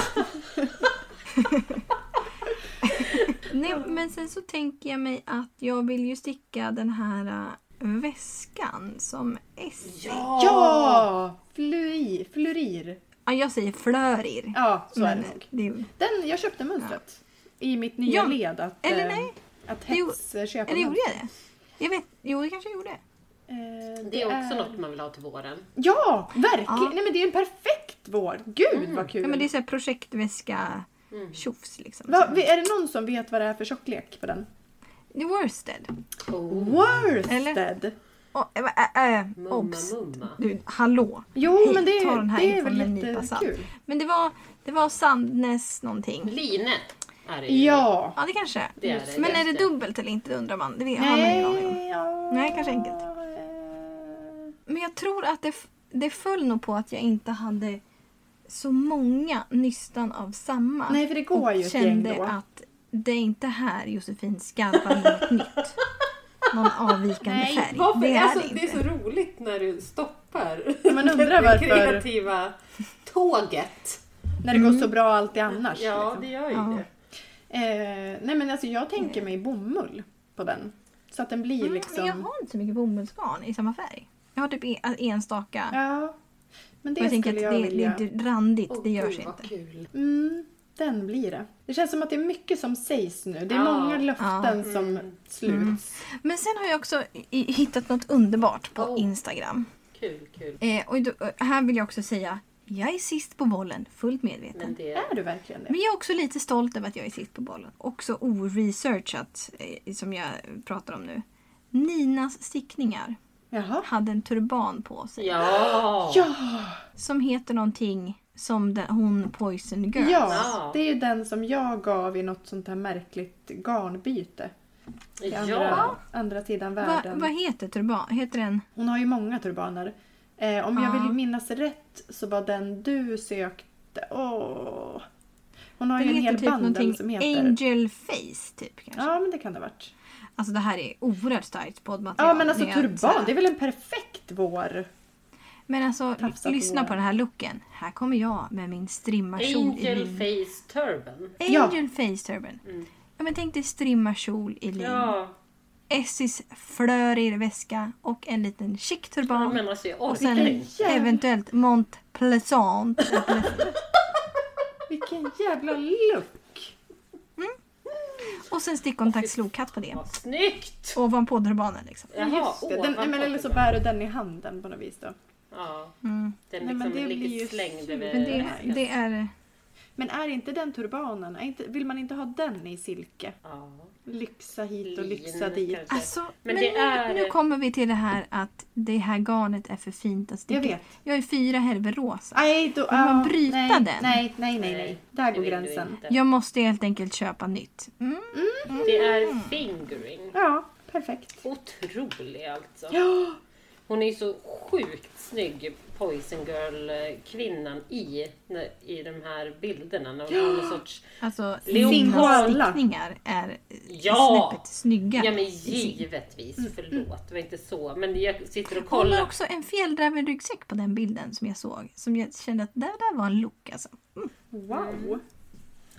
Nej, men sen så tänker jag mig att jag vill ju sticka den här eh, väskan som S.
Ja! Fluir, flurir.
Ja, jag säger flörir.
Ja, så är
men
det nog.
det är,
Den, jag köpte mönstret. I mitt nya
Ja,
led att,
eller
eh,
nej.
att
Det gjorde-
hets köpa
Eller gjorde
mönster.
jag det? Jag vet, jo, det kanske jag gjorde.
Eh,
Det är också
är-
något man vill ha till våren.
Ja, verkligen!
Ja. Mm.
Nej men det är en perfekt vår. Gud vad kul!
Ja, men det är så här projektväska
Mm.
tjofs liksom.
Va, vi- är det någon som vet vad det är för tjocklek på den?
Det är Worsted.
Oh.
Worsted!
Eller? Oh, äh, äh,
Mumma,
obs!
mumma.
Du, hallå!
Jo
Hej,
men det
ta den
är,
här
det är
infon
väl
med en nypa salt.
jättekul.
Men det var, det var Sandnes någonting.
Line är det ju.
Ja!
Ja, det kanske
Det är det,
Men
just
är det
det.
dubbelt eller inte, det undrar man. Det har man ingen aning om.
Nej, ja.
Nej, kanske enkelt. Men jag tror att det, f- det föll nog på att jag inte hade så många nystan av samma.
Nej, för det går
och
ju ett
kände
gäng då.
att det är inte här Josefin skarvar något nytt. Någon avvikande färg.
varför?
Det är
alltså,
det inte.
det är så roligt när du stoppar
Man undrar varför-
det kreativa tåget.
När det går
Mm.
så bra alltid annars.
Ja,
liksom.
det gör ju
Ja.
det.
eh, nej men alltså jag tänker mig bomull på den. Så att den blir
Mm,
liksom...
Men jag har inte så mycket bomullsgarn i samma färg. Jag har typ en, enstaka.
Ja. Men
och
det
jag tänker att
skulle
det,
jag
det
vilja...
är inte randigt,
Åh,
det görs
gud, vad
inte.
Kul.
Mm, den blir det. Det känns som att det är mycket som sägs nu. Det är
Ja.
många löften
Ja.
som
Mm.
sluts.
Men sen har jag också i- hittat något underbart på
Oh.
Instagram.
Kul, kul.
Eh, och då, och här vill jag också säga, jag är sist på bollen, fullt medveten.
Mm.
Men
Men,
det...
Är du verkligen det?
jag är också lite stolt över att jag är sist på bollen. Också oresearchat, eh, som jag pratar om nu. Ninas stickningar
Jaha.
hade en turban på sig.
Ja!
Ja!
Som heter någonting som den, hon Poison Girl.
Ja, det är ju den som jag gav i något sånt här märkligt garnbyte. I andra,
Ja.
andra sidan
Va,
världen.
vad heter turban? Heter den?
Hon har ju många turbaner. Eh, om jag
Ja.
vill minnas rätt så var den du sökte... Åh. Hon har
Den
ju en
heter
hel
typ
bandel
någonting
som heter...
Angel Face typ kanske.
Ja, men det kan det ha varit.
Alltså det här är oerhört starkt poddmaterial.
Ja, men alltså
Det är så
turban,
här-
det är väl en perfekt vår...
Men alltså
Tafsa på
lyssna
våren.
på den här looken. Här kommer jag med min strimmarkjol i
Angel
lin.
face turban.
Ja.
Angel Face Turban. Ja, men tänk dig strimmarkjol i lin.
Ja,
Essis flörig väska och en liten chic turban.
men alltså jag
och
orkar
sen
inte.
jävla-
eventuellt Mont Pleasant.
Vilken jävla look!
och sen stickkontaktslokatt på det.
Vad snyggt!
Ovanpå turbanen liksom.
Jaha,
Just det. Den, nej, men eller så bär du den i handen på något vis då.
Ja,
Mm.
den
Nej,
liksom
men det
ligger
blir ju
slängd
kul.
över
Men det,
väskan.
det är...
Men är inte den turbanen, är inte, vill man inte ha den i silke?
Ja.
Lyxa hit och
Lin
lyxa dit.
kanske.
Alltså, men
Men det
nu,
är-
nu kommer vi till det här att det här garnet är för fint att sticka.
Jag vet.
Jag är fyra helver rosa.
Nej, då...
man
ja,
bryta
nej,
den?
Nej, nej, nej, nej. Där
det
går
vill du
gränsen.
inte.
Jag måste helt enkelt köpa nytt. Mm.
Det är fingering.
Ja, perfekt.
Otrolig alltså.
Ja,
Hon är ju så sjukt snygg, Poison Girl-kvinnan i, i de här bilderna. När hon har någon sorts...
Alltså,
Leopard.
stickningar är eh,
Ja!
snäppet snyggare.
Ja men
i sig.
givetvis, förlåt. Det var inte så. Men jag sitter och
Mm, Hon har
kollar.
också en fjällräven ryggsäck på den bilden som jag såg. Som jag kände att det där var en look alltså.
wow.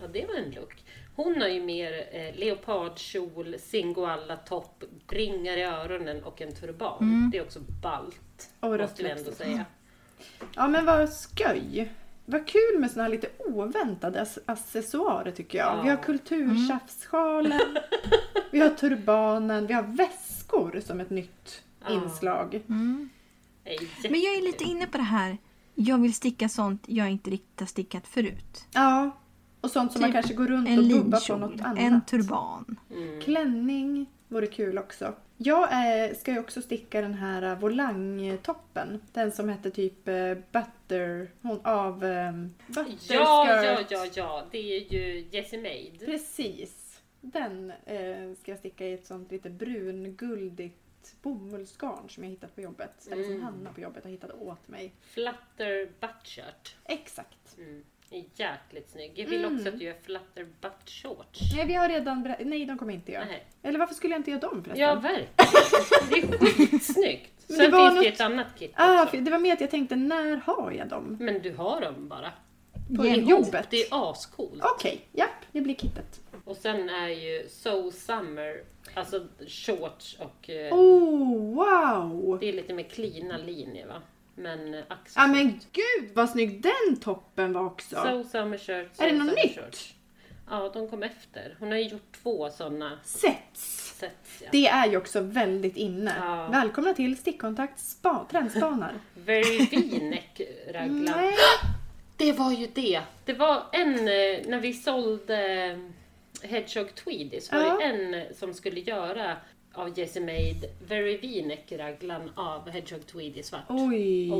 Ja, det var en look. Hon har ju mer eh, leopardkjol, singoalla-topp, ringar i öronen och en turban.
Mm.
Det är också ballt.
Och
måste vi
rött
ändå säga.
Ja, men vad skoj. Vad kul med såna här lite oväntade ac- accessoarer tycker jag.
Ja. Mm.
Vi har kulturtjafssjalen, vi har turbanen, vi har väskor som ett nytt
Ja.
inslag.
Mm.
Det är
Men jag är lite
jättekul.
inne på det här. Jag vill sticka sånt jag inte riktigt har stickat förut.
Ja, och sånt som man
Typ
kanske går runt
En
och dubbar på något
linkjol,
annat.
en turban.
Klänning vore kul också. Jag eh, ska ju också sticka den här eh, volangtoppen. Den som hette typ eh, Butter... Hon av... Eh, butterskirt.
Ja, ja, ja, ja. Det är ju Jessie Maid.
Precis. Den eh, ska jag sticka i ett sånt lite brunguldigt bomullsgarn som jag hittat på jobbet. Eller som
Mm.
Hanna på jobbet har hittat åt mig.
Flutter butt shirt.
Exakt.
Mm. Det är jäkligt snygg. Jag vill
Mm.
också att du gör flutter butt shorts.
Nej, vi har redan... berä- Nej, de kommer inte jag.
Nej.
Eller varför skulle jag inte göra dem förresten?
Ja, verkligen. Det är skitsnyggt. Sen
Men det
finns
var
det
något-
ett annat kit
Ah,
också.
för det var mer att jag tänkte, när har jag dem?
Men du har dem bara.
På
Hjälp.
jobbet?
Det är ascoolt.
Okej, japp. Det blir kittet.
Och sen är ju So Summer, alltså shorts och eh,
Oh, wow!
det är lite mer cleana linjer va? Men eh, ack så
Ja men
snyggt.
gud vad snygg den toppen var också!
So Summer Shirt, so
Är det något
summer
nytt?
Shorts. Ja, de kom efter. Hon har ju gjort två sådana
Sets!
sets. Ja.
Det är ju också väldigt inne.
Ja.
Välkomna till Stickkontakt spa- trendspanar.
Very V-neck raglan.
Nej.
Det var ju det. Det var en, eh, när vi sålde eh, Hedgehog Tweedy så var
Ja.
det en eh, som skulle göra av Jessie Maid Very V-neck raglan av Hedgehog Tweedy svart.
Oj!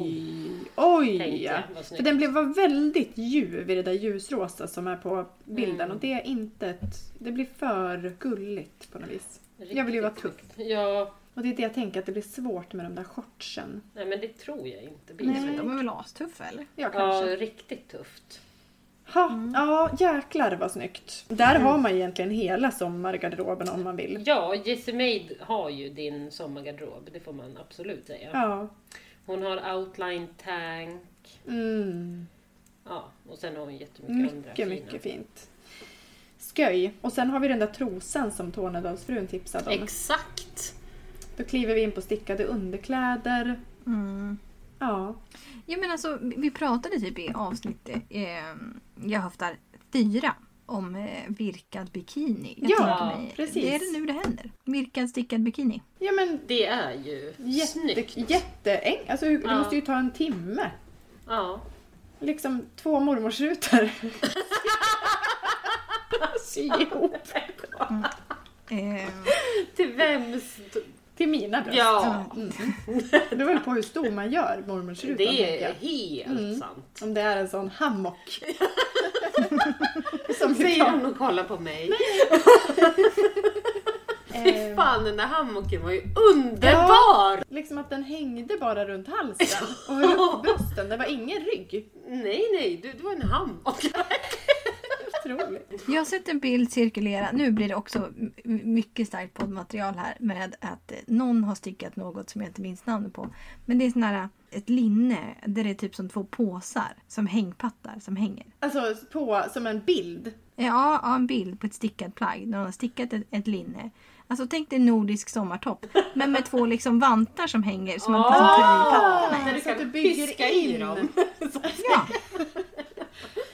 Oj!
Tänkte jag, vad snyggt.
För den blev var väldigt ljuv i det där ljusrosa som är på bilden
Mm.
och det är inte ett, Det blir för gulligt på något vis. jag vill ju vara
Riktigt
tuff.
snyggt. Ja,
Och det är det jag tänker att det blir svårt med de där shortsen.
nej men det tror jag inte blir
Nej,
så.
men de är väl astuffa eller?
Ja,
Ja, Mm.
kanske.
riktigt tufft.
Ha, Ja, jäklar vad snyggt. Där
Mm.
har man egentligen hela sommargarderoben om man vill.
Ja, Jessie Maid har ju din sommargarderob, det får man absolut säga.
Ja.
Hon har outline tank.
Mm.
Ja, Ja, och sen har hon jättemycket andra
Mycket, mycket fint. Sköj. Och sen har vi den där trosan som Tornedalsfrun tipsade om.
Exakt!
Då kliver vi in på stickade underkläder.
Mm.
Ja,
Ja, men alltså, vi pratade typ i avsnitt eh, jag höftar fyra om eh, virkad bikini. Jag
Ja,
tänker mig,
precis.
Det är det nu det händer. Virkad stickad bikini.
ja men
Det är ju snyggt.
jätte, jätteenk. Alltså, hur- Det
Ja.
måste ju ta en timme.
Ja.
Liksom två mormorsrutor. Sy ihop.
Eh,
Till vems...
Till mina bröst.
Ja,
Det beror väl på hur stor man gör mormorsrutan.
det
tänker
är
jag.
helt
Mm.
sant.
Om det är en sån hammock. Som vi
Säger
tar.
hon och kollar på mig. Fy
Eh,
fan, den där hammocken var ju underbar!
liksom att den hängde bara runt halsen och runt brösten. Det var ingen rygg.
Nej, nej, du, du var en hammock.
Otroligt.
jag har sett en bild cirkulera. Nu blir det också m- mycket starkt poddmaterial här med att eh, någon har stickat något som jag inte minns namnet på. Men det är sån här, eh, ett linne där det är typ som två påsar som hängpattar som hänger.
Alltså på, som en bild.
Ja, ja, en bild på ett stickat plagg. Någon har stickat ett, ett linne. Alltså tänk dig en nordisk sommartopp. Men med två liksom vantar som hänger som en
Åh!
Ah!
paraply.
Ah! Där du
Så att du
kan
bygger
fiska i
in.
dem.
Ja,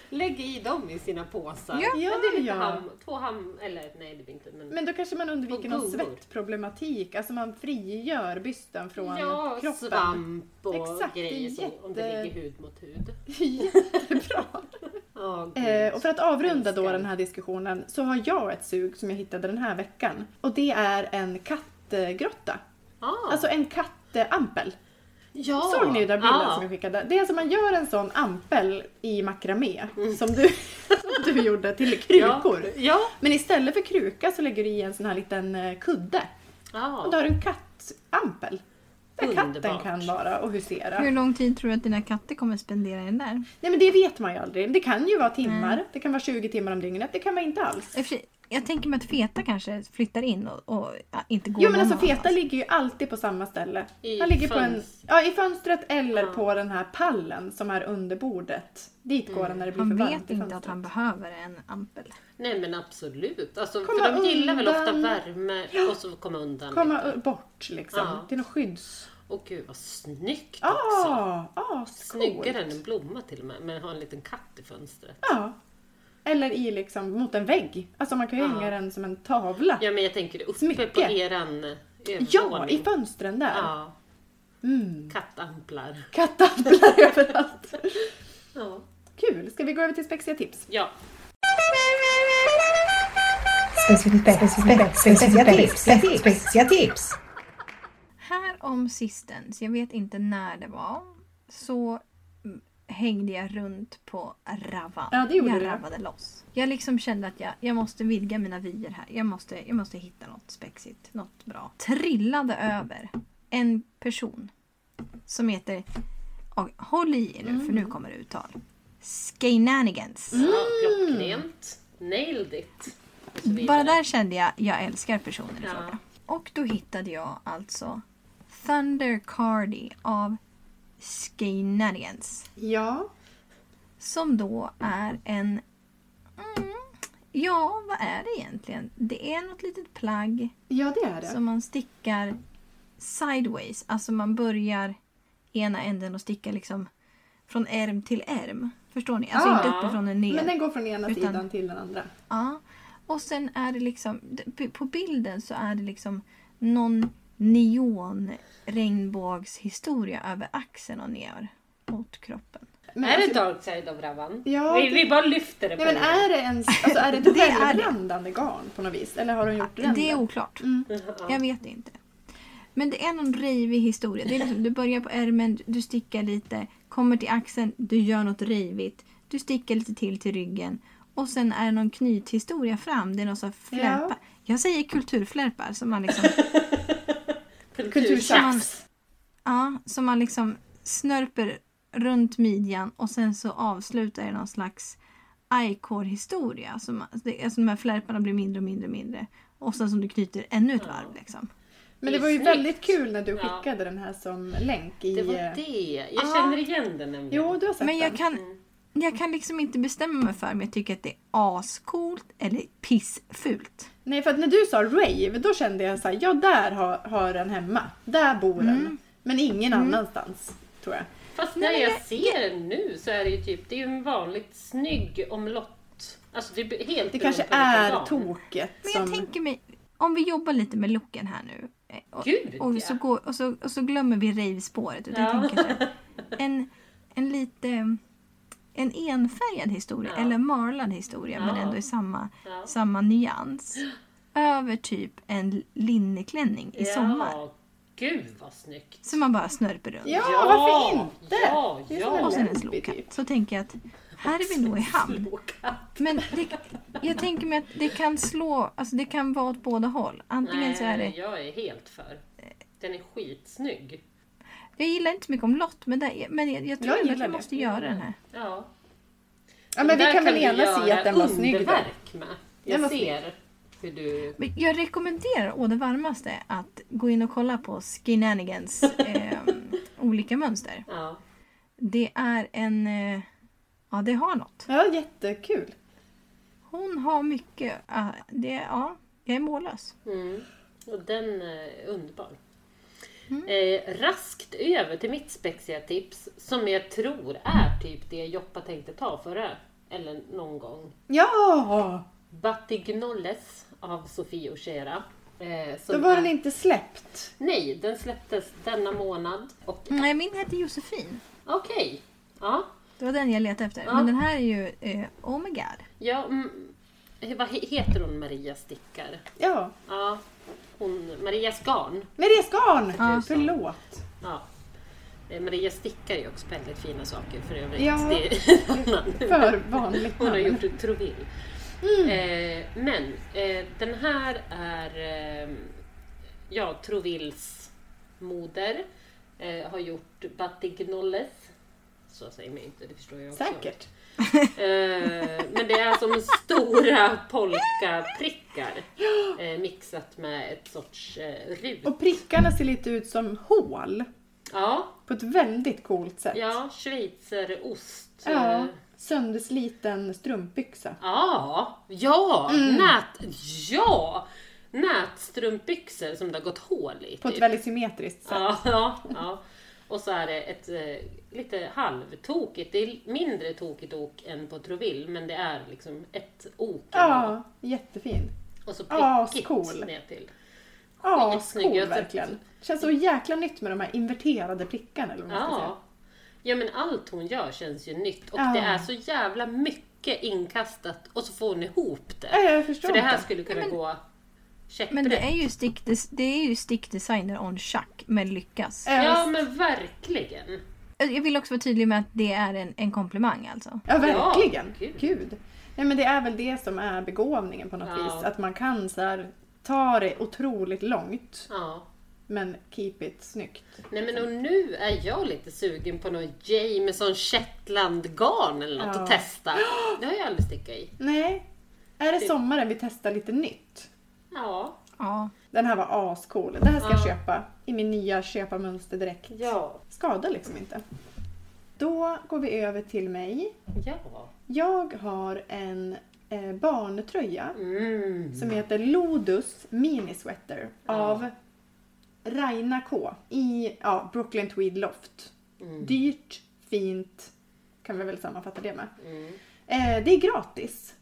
Lägg i dem i sina påsar.
Ja,
men det är lite
ja.
ham, två ham... Eller nej, det blir inte. Men,
Men då kanske man undviker
Och
någon
gungor.
svettproblematik. Alltså man frigör bysten från
ja,
kroppen.
svamp och
Exakt, det är
grejer så, om det
jätte-
ligger hud mot hud.
Jättebra.
Ja, gud.
Eh, och för att avrunda då
Älskar.
den här diskussionen så har jag ett sug som jag hittade den här veckan. Och det är en kattgrotta.
ah,
Alltså en kattampel.
ja.
Såg ni den bilden
Ah.
som jag skickade? Det är alltså man gör en sån ampel i makramé som, du, som du gjorde till krukor.
Mm. Ja, ja.
Men istället för kruka så lägger du i en sån här liten eh, kudde. Och då
ja.
har du en kattampel. Där katten
Underbart.
kan vara och husera.
hur lång tid tror du att dina katter kommer spendera i den där?
Nej men det vet man ju aldrig. Det kan ju vara timmar.
Mm.
Det kan vara 20 timmar om dygnet. Det kan vara inte alls.
I och för sig, Jag tänker mig att feta kanske flyttar in och, och ja, inte går
Jo men alltså
någon
feta
annanstans.
ligger ju alltid på samma ställe.
I
Han ligger på en,
fönst-
ja, i fönstret eller
Ja.
på den här pallen som är under bordet. Dit går han när det blir
Han
för varmt
vet
i
inte att
fönstret.
han behöver en ampel.
Nej men absolut. Alltså, för
Komma
de gillar väl ofta
undan.
värme och så komma undan
Komma
lite.
ö- bort liksom.
Ja.
Till något skydds...
Och gud vad snyggt också.
Ah, ascoolt!
Snyggare än en blomma till och med. Men ha en liten katt i fönstret.
Ja. Eller i liksom mot en vägg. Alltså man kan ju
Ja.
hänga den som en tavla. Ja,
Ja men jag tänker uppe på
Smycke.
eran eh,
i
övervåning.
fönstren där.
Ja,
Mm.
kattamplar.
Kattamplar överallt.
Ja.
Kul! Ska vi gå över till spexiga tips?
ja.
Specifica tips, specifica tips.
Här om sistens, jag vet inte när det var, så mm, hängde jag runt på Ravan.
Ja, det gjorde
jag
du.
ravade loss. Jag liksom kände att jag, jag måste vidga mina vyer här. Jag måste, jag måste hitta något spexigt, något bra. Trillade över en person som heter, och, håll i er nu för nu
Mm.
kommer det uttal. Skeinanigans.
ja klockrent. Nailed it. Och så vidare.
Bara där kände jag, jag älskar personen i
Ja.
fråga. Och då hittade jag alltså Thunder Cardi av Skeinarians.
Ja.
Som då är en... Mm, ja, vad är det egentligen? Det är något litet plagg
Ja det är det.
som man stickar sideways. Alltså man börjar ena änden och stickar liksom från ärm till ärm. Förstår ni? Alltså
Ja.
inte uppifrån och ner.
Ah. Men den går från ena
Utan-
sidan till den andra.
Ja. Och sen är det liksom, p- på bilden så är det liksom någon neon regnbågshistoria över axeln och ner mot kroppen.
Men
är det
alltså-
dark side of Ravan?
Ja,
vi,
det-
vi bara lyfter det
Nej
på
men
en gång.
är det en, alltså är det
Det är
ett
det.
självblandande garn på något vis? Eller har de gjort
Det är
ränder?
oklart. Jag vet inte. Men det är någon rejvig historia. Det är liksom, du börjar på ärmen, du stickar lite, kommer till axeln, du gör något rejvigt, du stickar lite till till ryggen och sen är det någon knythistoria fram. Det är någon sån flärpa.
Ja.
Jag säger kulturflärpar som man liksom
Kulturtjafs.
man- Ja, som man liksom snörper runt midjan och sen så avslutar det någon slags I-core-historia. Som- det- Alltså de här flärparna blir mindre och mindre och mindre. Och sen som du knyter ännu ett varv. Liksom.
Men det
Det är
var ju
snyggt.
väldigt kul när du
Ja.
skickade den här som länk i...
Det
eh,
var det. Jag
Ja.
känner igen den nämligen.
Jo, du har sett
Men jag
den.
kan... jag kan liksom inte bestämma mig för om jag tycker att det är ascoolt eller pissfult.
Nej, för att när du sa rave, då kände jag så här, ja där har, har den hemma. Där bor den. Men ingen annanstans, tror jag.
Fast när jag ser den nu så är det ju typ, det är ju en vanligt snygg omlott. Alltså det är helt
Det kanske
beroende på
är
vilken dag.
toket
Men jag
som...
tänker mig, om vi jobbar lite med looken här nu. eh, Och,
Gud,
och, så,
ja.
går, och, så, och så glömmer vi rave-spåret. Utan
Ja.
jag tänker så här, en, en lite... eh, En enfärgad historia,
Ja.
eller en marlad historia, men
Ja.
ändå i samma,
Ja.
samma nyans. Över typ en linneklänning i sommar.
Ja, gud vad snyggt.
Som man bara snörper runt.
Ja,
Ja,
varför inte?
ja,
Det är som en
ja.
Och sen en
lämplig
slowcat.
typ.
Så tänker jag att här är vi nog i hamn. Men det, jag tänker mig att det kan slå, alltså det kan vara åt båda håll. Antingen
Nej,
Alltså, så är det,
jag är helt för. Den är skitsnygg.
jag gillar inte så mycket om lott men, det, men jag, jag tror
Jag
ändå att
gillar
vi
det.
måste göra den här.
Ja.
Ja, men vi
Där
kan väl
vi
enas i
göra
att den var snygg då.
underverk med. Jag
Den var snygg.
ser hur du...
Men jag rekommenderar å det varmaste att gå in och kolla på Skinanigans eh, olika mönster.
Ja.
Det är en, eh, ja det har något.
Ja, jättekul.
Hon har mycket, ah, det, ja, jag är mållös.
Mm. Och den är underbar.
Mm.
Eh, raskt över till mitt spexiga tips som jag tror är typ det Joppa tänkte ta förra eller någon gång.
Ja!
Batignolles av Sofie Oshera. Eh, som
Då var
är-
den inte släppt.
Nej, den släpptes denna månad. Och...
Mm.
Nej, min heter Josefin.
Okej. Ja.
Det var den jag letade efter.
Ja.
Men den här är ju eh, Oh my god.
ja mm, vad he- heter hon Maria Stickar?
Ja.
Ja. Hon, Maria Skarn.
Maria Skarn!
Ja.
Förlåt.
Ja. Eh, Maria Stickar gör också väldigt fina saker för övrigt.
Ja.
Det är en annan
För vanligt
Hon har
namn.
gjort ett trovill. Eh, men eh, den här är eh, ja, trovills moder. Eh, har gjort Batignolles. Så säger man inte, det förstår jag också.
Säkert.
Eh, men det är som stora polkaprickar eh, mixat med ett sorts eh, rut.
Och prickarna ser lite ut som hål.
Ja,
På ett väldigt coolt sätt.
ja schweizerost. eh,
Ja, Söndersliten strumpbyxa.
Ja, ja,
Mm.
nät, ja, nätstrumpbyxor som det har gått hål i.
På ett
typ.
väldigt symmetriskt sätt.
ja, ja, ja. Och så är det ett eh, lite halvtokigt, det är mindre tokigt ok än på Trovill, men det är liksom ett ok.
Ja, jättefin.
Och så prickigt
Ascool.
ner till.
Ja,
Skitsnygg,
skol
jag tyckte-
verkligen. Känns så jäkla nytt med de här inverterade prickarna eller vad man ska säga.
Ja. ja, men allt hon gör känns ju nytt och
Ja.
det är så jävla mycket inkastat och så får hon ihop det.
Ja, jag förstår
För det här
inte.
skulle kunna
Nej, men-
gå
Men
käpprätt.
det är ju, stick, det är ju stickdesigner on chack, men lyckas.
Ja,
Ja,
visst.
men verkligen.
Jag vill också vara tydlig med att det är en, en komplimang alltså.
Ja, verkligen.
gud.
Gud. Nej, men det är väl det som är begåvningen på något
Ja.
vis. Att man kan så här, ta det otroligt långt,
Ja.
men keep it snyggt.
Nej men och nu är jag lite sugen på någon Jameson Shetland-garn eller något
Ja.
att testa. Det har jag aldrig stickat i.
Nej. Är
Typ.
det sommaren vi testar lite nytt?
Ja.
Ja.
Den här var ascool. Det här ska jag
Ja.
köpa i min nya köparmönster direkt.
Ja.
Skadar liksom inte. Då går vi över till mig.
Ja.
Jag har en eh, barntröja
Mm.
som heter Lodus Mini Sweater av Raina K i ja, Brooklyn Tweed Loft.
Mm.
Dyrt, fint, kan vi väl sammanfatta det med.
Mm.
Eh, det är gratis.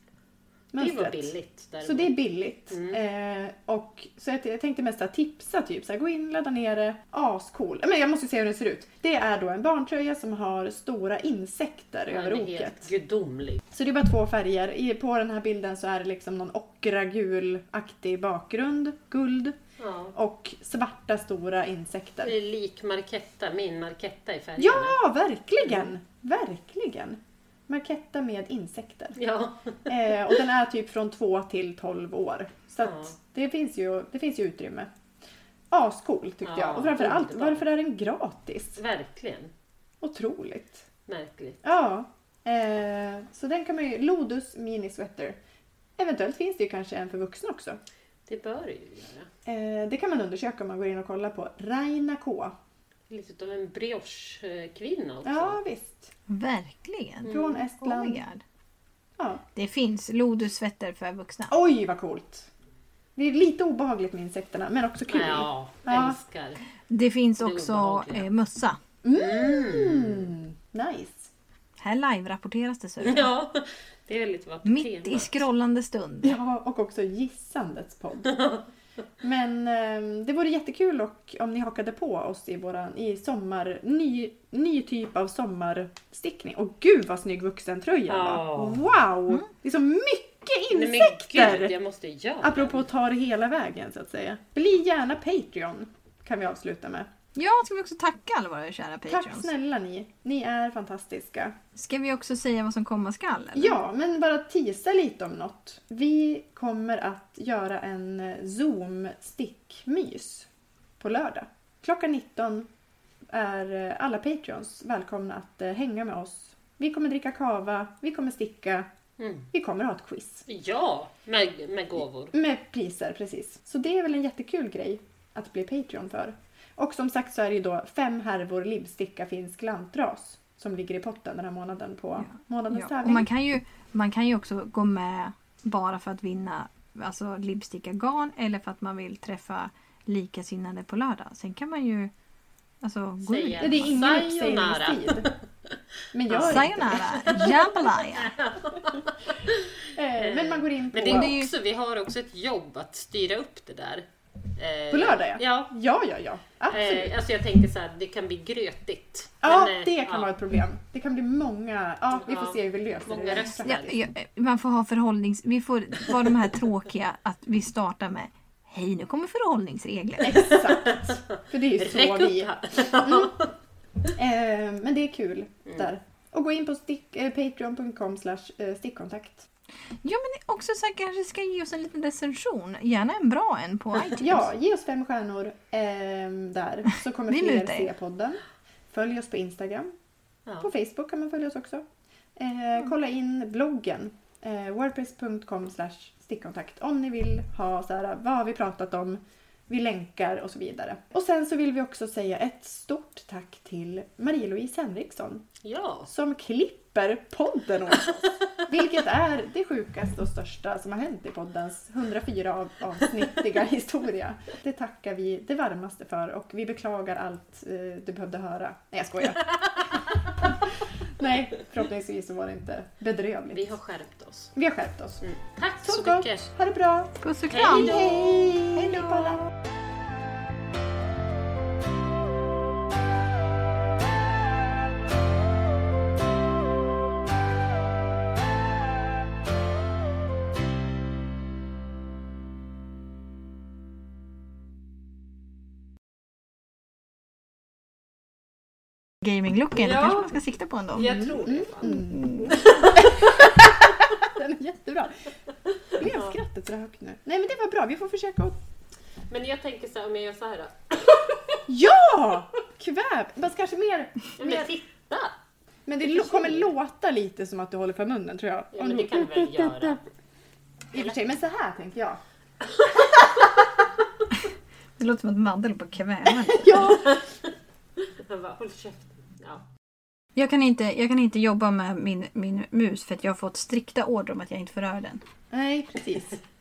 Det Mm. var
mönstret.
billigt. Däremot.
Så det är billigt. Eh, och så jag, jag tänkte mest att tipsa, typ så här, gå in, ladda ner det. Ascool. Men jag måste se hur den ser ut. Det är då en barntröja som har stora insekter
Den
över
är
oket.
helt gudomlig.
Så det är bara två färger. I, på den här bilden så är det liksom någon ockragul-aktig bakgrund, guld
Ja.
och svarta stora
Det
insekter.
är lik Marketta, min Marketta i färgerna.
Ja, verkligen! Verkligen! Marketta med insekter.
Ja.
Eh, och den är typ från 2 till 12 år. Så att
Ja.
det, finns ju, det finns ju utrymme. Ascool tyckte
Ja,
jag. Och framförallt,
underbar.
varför är den gratis?
Verkligen.
Otroligt.
Märkligt.
Ja. Eh, så den kan man ju... Lodus Mini Sweater. Eventuellt finns det ju kanske en för vuxna också.
Det bör det ju göra.
Eh, det kan man undersöka om man går in och kollar på Raina K.
lite av en brioche-kvinna också.
Ja, visst.
Verkligen.
Mm,
Från
Oh
Estland.
my god.
ja.
Det finns lodosfetter för vuxna.
Oj, vad coolt! Det är lite obehagligt med insekterna, men också kul.
Ja,
Ja.
älskar.
Det finns
Det är
också
obehagliga.
eh, mössa.
Mm, nice.
Här live-rapporteras
Mm.
dessutom.
Ja, det är lite vad
Mitt i scrollande stund.
Ja, och också gissandets podd. Men ehm, det vore jättekul och, om ni hakade på oss i våran i sommar, ny, ny typ av sommarstickning. Och gud vad snygg vuxentröja
Ja. Mm.
var! Wow! Det är så mycket
Nej, men
insekter!
gud, jag måste göra
Apropå att ta det hela vägen så att säga. Bli gärna Patreon kan vi avsluta med.
Ja, ska vi också tacka alla våra kära
Tack
patreons.
snälla ni. Ni är fantastiska.
Ska vi också säga vad som komma skall? eller?
Ja, men bara tisa lite om något. Vi kommer att göra en Zoom-stickmys på lördag. Klockan 19 är eh, alla Patreons välkomna att eh, hänga med oss. Vi kommer dricka kava, vi kommer sticka,
Mm.
vi kommer ha ett quiz.
Ja, med, med gåvor.
Med priser, precis. Så det är väl en jättekul grej att bli Patreon för. Och som sagt så är det ju då fem härvor livsticka finsk lantras som ligger i potten den här månaden på månadens
Ja, och
tävling.
man, kan ju, man kan ju också gå med bara för att vinna alltså lipsticka garn eller för att man vill träffa likasinnade på lördag. Sen kan man ju alltså, gå
Säga.
Ja, det är ingen
Sayonara.
uppsägningstid. Men
ut.
jag
Sayonara! Jambalaya!
Eh, Men man går in på...
Men det är
ju-
också, vi har också ett jobb att styra upp det där. Eh,
På lördag ja.
Ja.
Ja, ja, ja. Absolut.
Eh, alltså jag tänker så här, det kan bli grötigt.
ja,
Men, eh,
det kan
ja.
vara ett problem. Det kan bli många... Ja, vi får
Ja.
se hur vi löser
Många
det. rent
röster.
Ja,
praktiskt.
ja,
liksom.
man får ha förhållnings... Vi får vara de här tråkiga att vi startar med Hej, nu kommer förhållningsregler.
Exakt. För det är ju så
Räck
vi...
upp här.
Eh, men det är kul där. Och gå in på stick, eh, patreon.com slash eh, stickkontakt.
Ja, men också så här, kanske ska ge oss en liten recension. Gärna en bra en på iTunes.
Ja, ge oss fem stjärnor ehm, där så kommer
Vi
fler
mutar er.
se podden. Följ oss på Instagram.
Ja.
På Facebook kan man följa oss också. Eh, Kolla in bloggen. Eh, Wordpress.com stickkontakt om ni vill ha så här, vad har vi pratat om? Vi länkar och så vidare. Och sen så vill vi också säga ett stort tack till Marie-Louise Henriksson
ja.
som klipper podden åt oss. Vilket är det sjukaste och största som har hänt i poddens 104 av, avsnittiga historia. Det tackar vi det varmaste för och vi beklagar allt eh, du behövde höra. Nej, jag skojar. Nej, förhoppningsvis så var det inte bedrövligt.
Vi har skärpt oss.
Vi har skärpt oss.
Mm. Tack
Så
så
gott!
mycket.
Ha det bra!
Puss och
Hej
kram!
då.
Hej!
Hej då.
på alla.
Gaming-looken
Ja.
kanske man ska sikta på ändå.
Jag tror det. fan.
Mm. Den är jättebra. Blev skrattet så där högt nu? Nej men det var bra, vi får försöka att...
Men jag tänker så här, om jag gör så här då.
Ja! Kväv! Fast kanske mer...
Ja, Men titta!
Men det lo- kommer låta lite som att du håller för munnen tror jag.
Ja,
Om
men
du-
det kan vi väl göra.
I och för sig, men så här tänker jag.
Det låter som att Madde håller på att kväva dig.
Ja!
Jag bara, håll käften. Ja.
jag, kan inte, jag kan inte jobba med min, min mus för att jag har fått strikta order om att jag inte får röra den.
Nej, precis.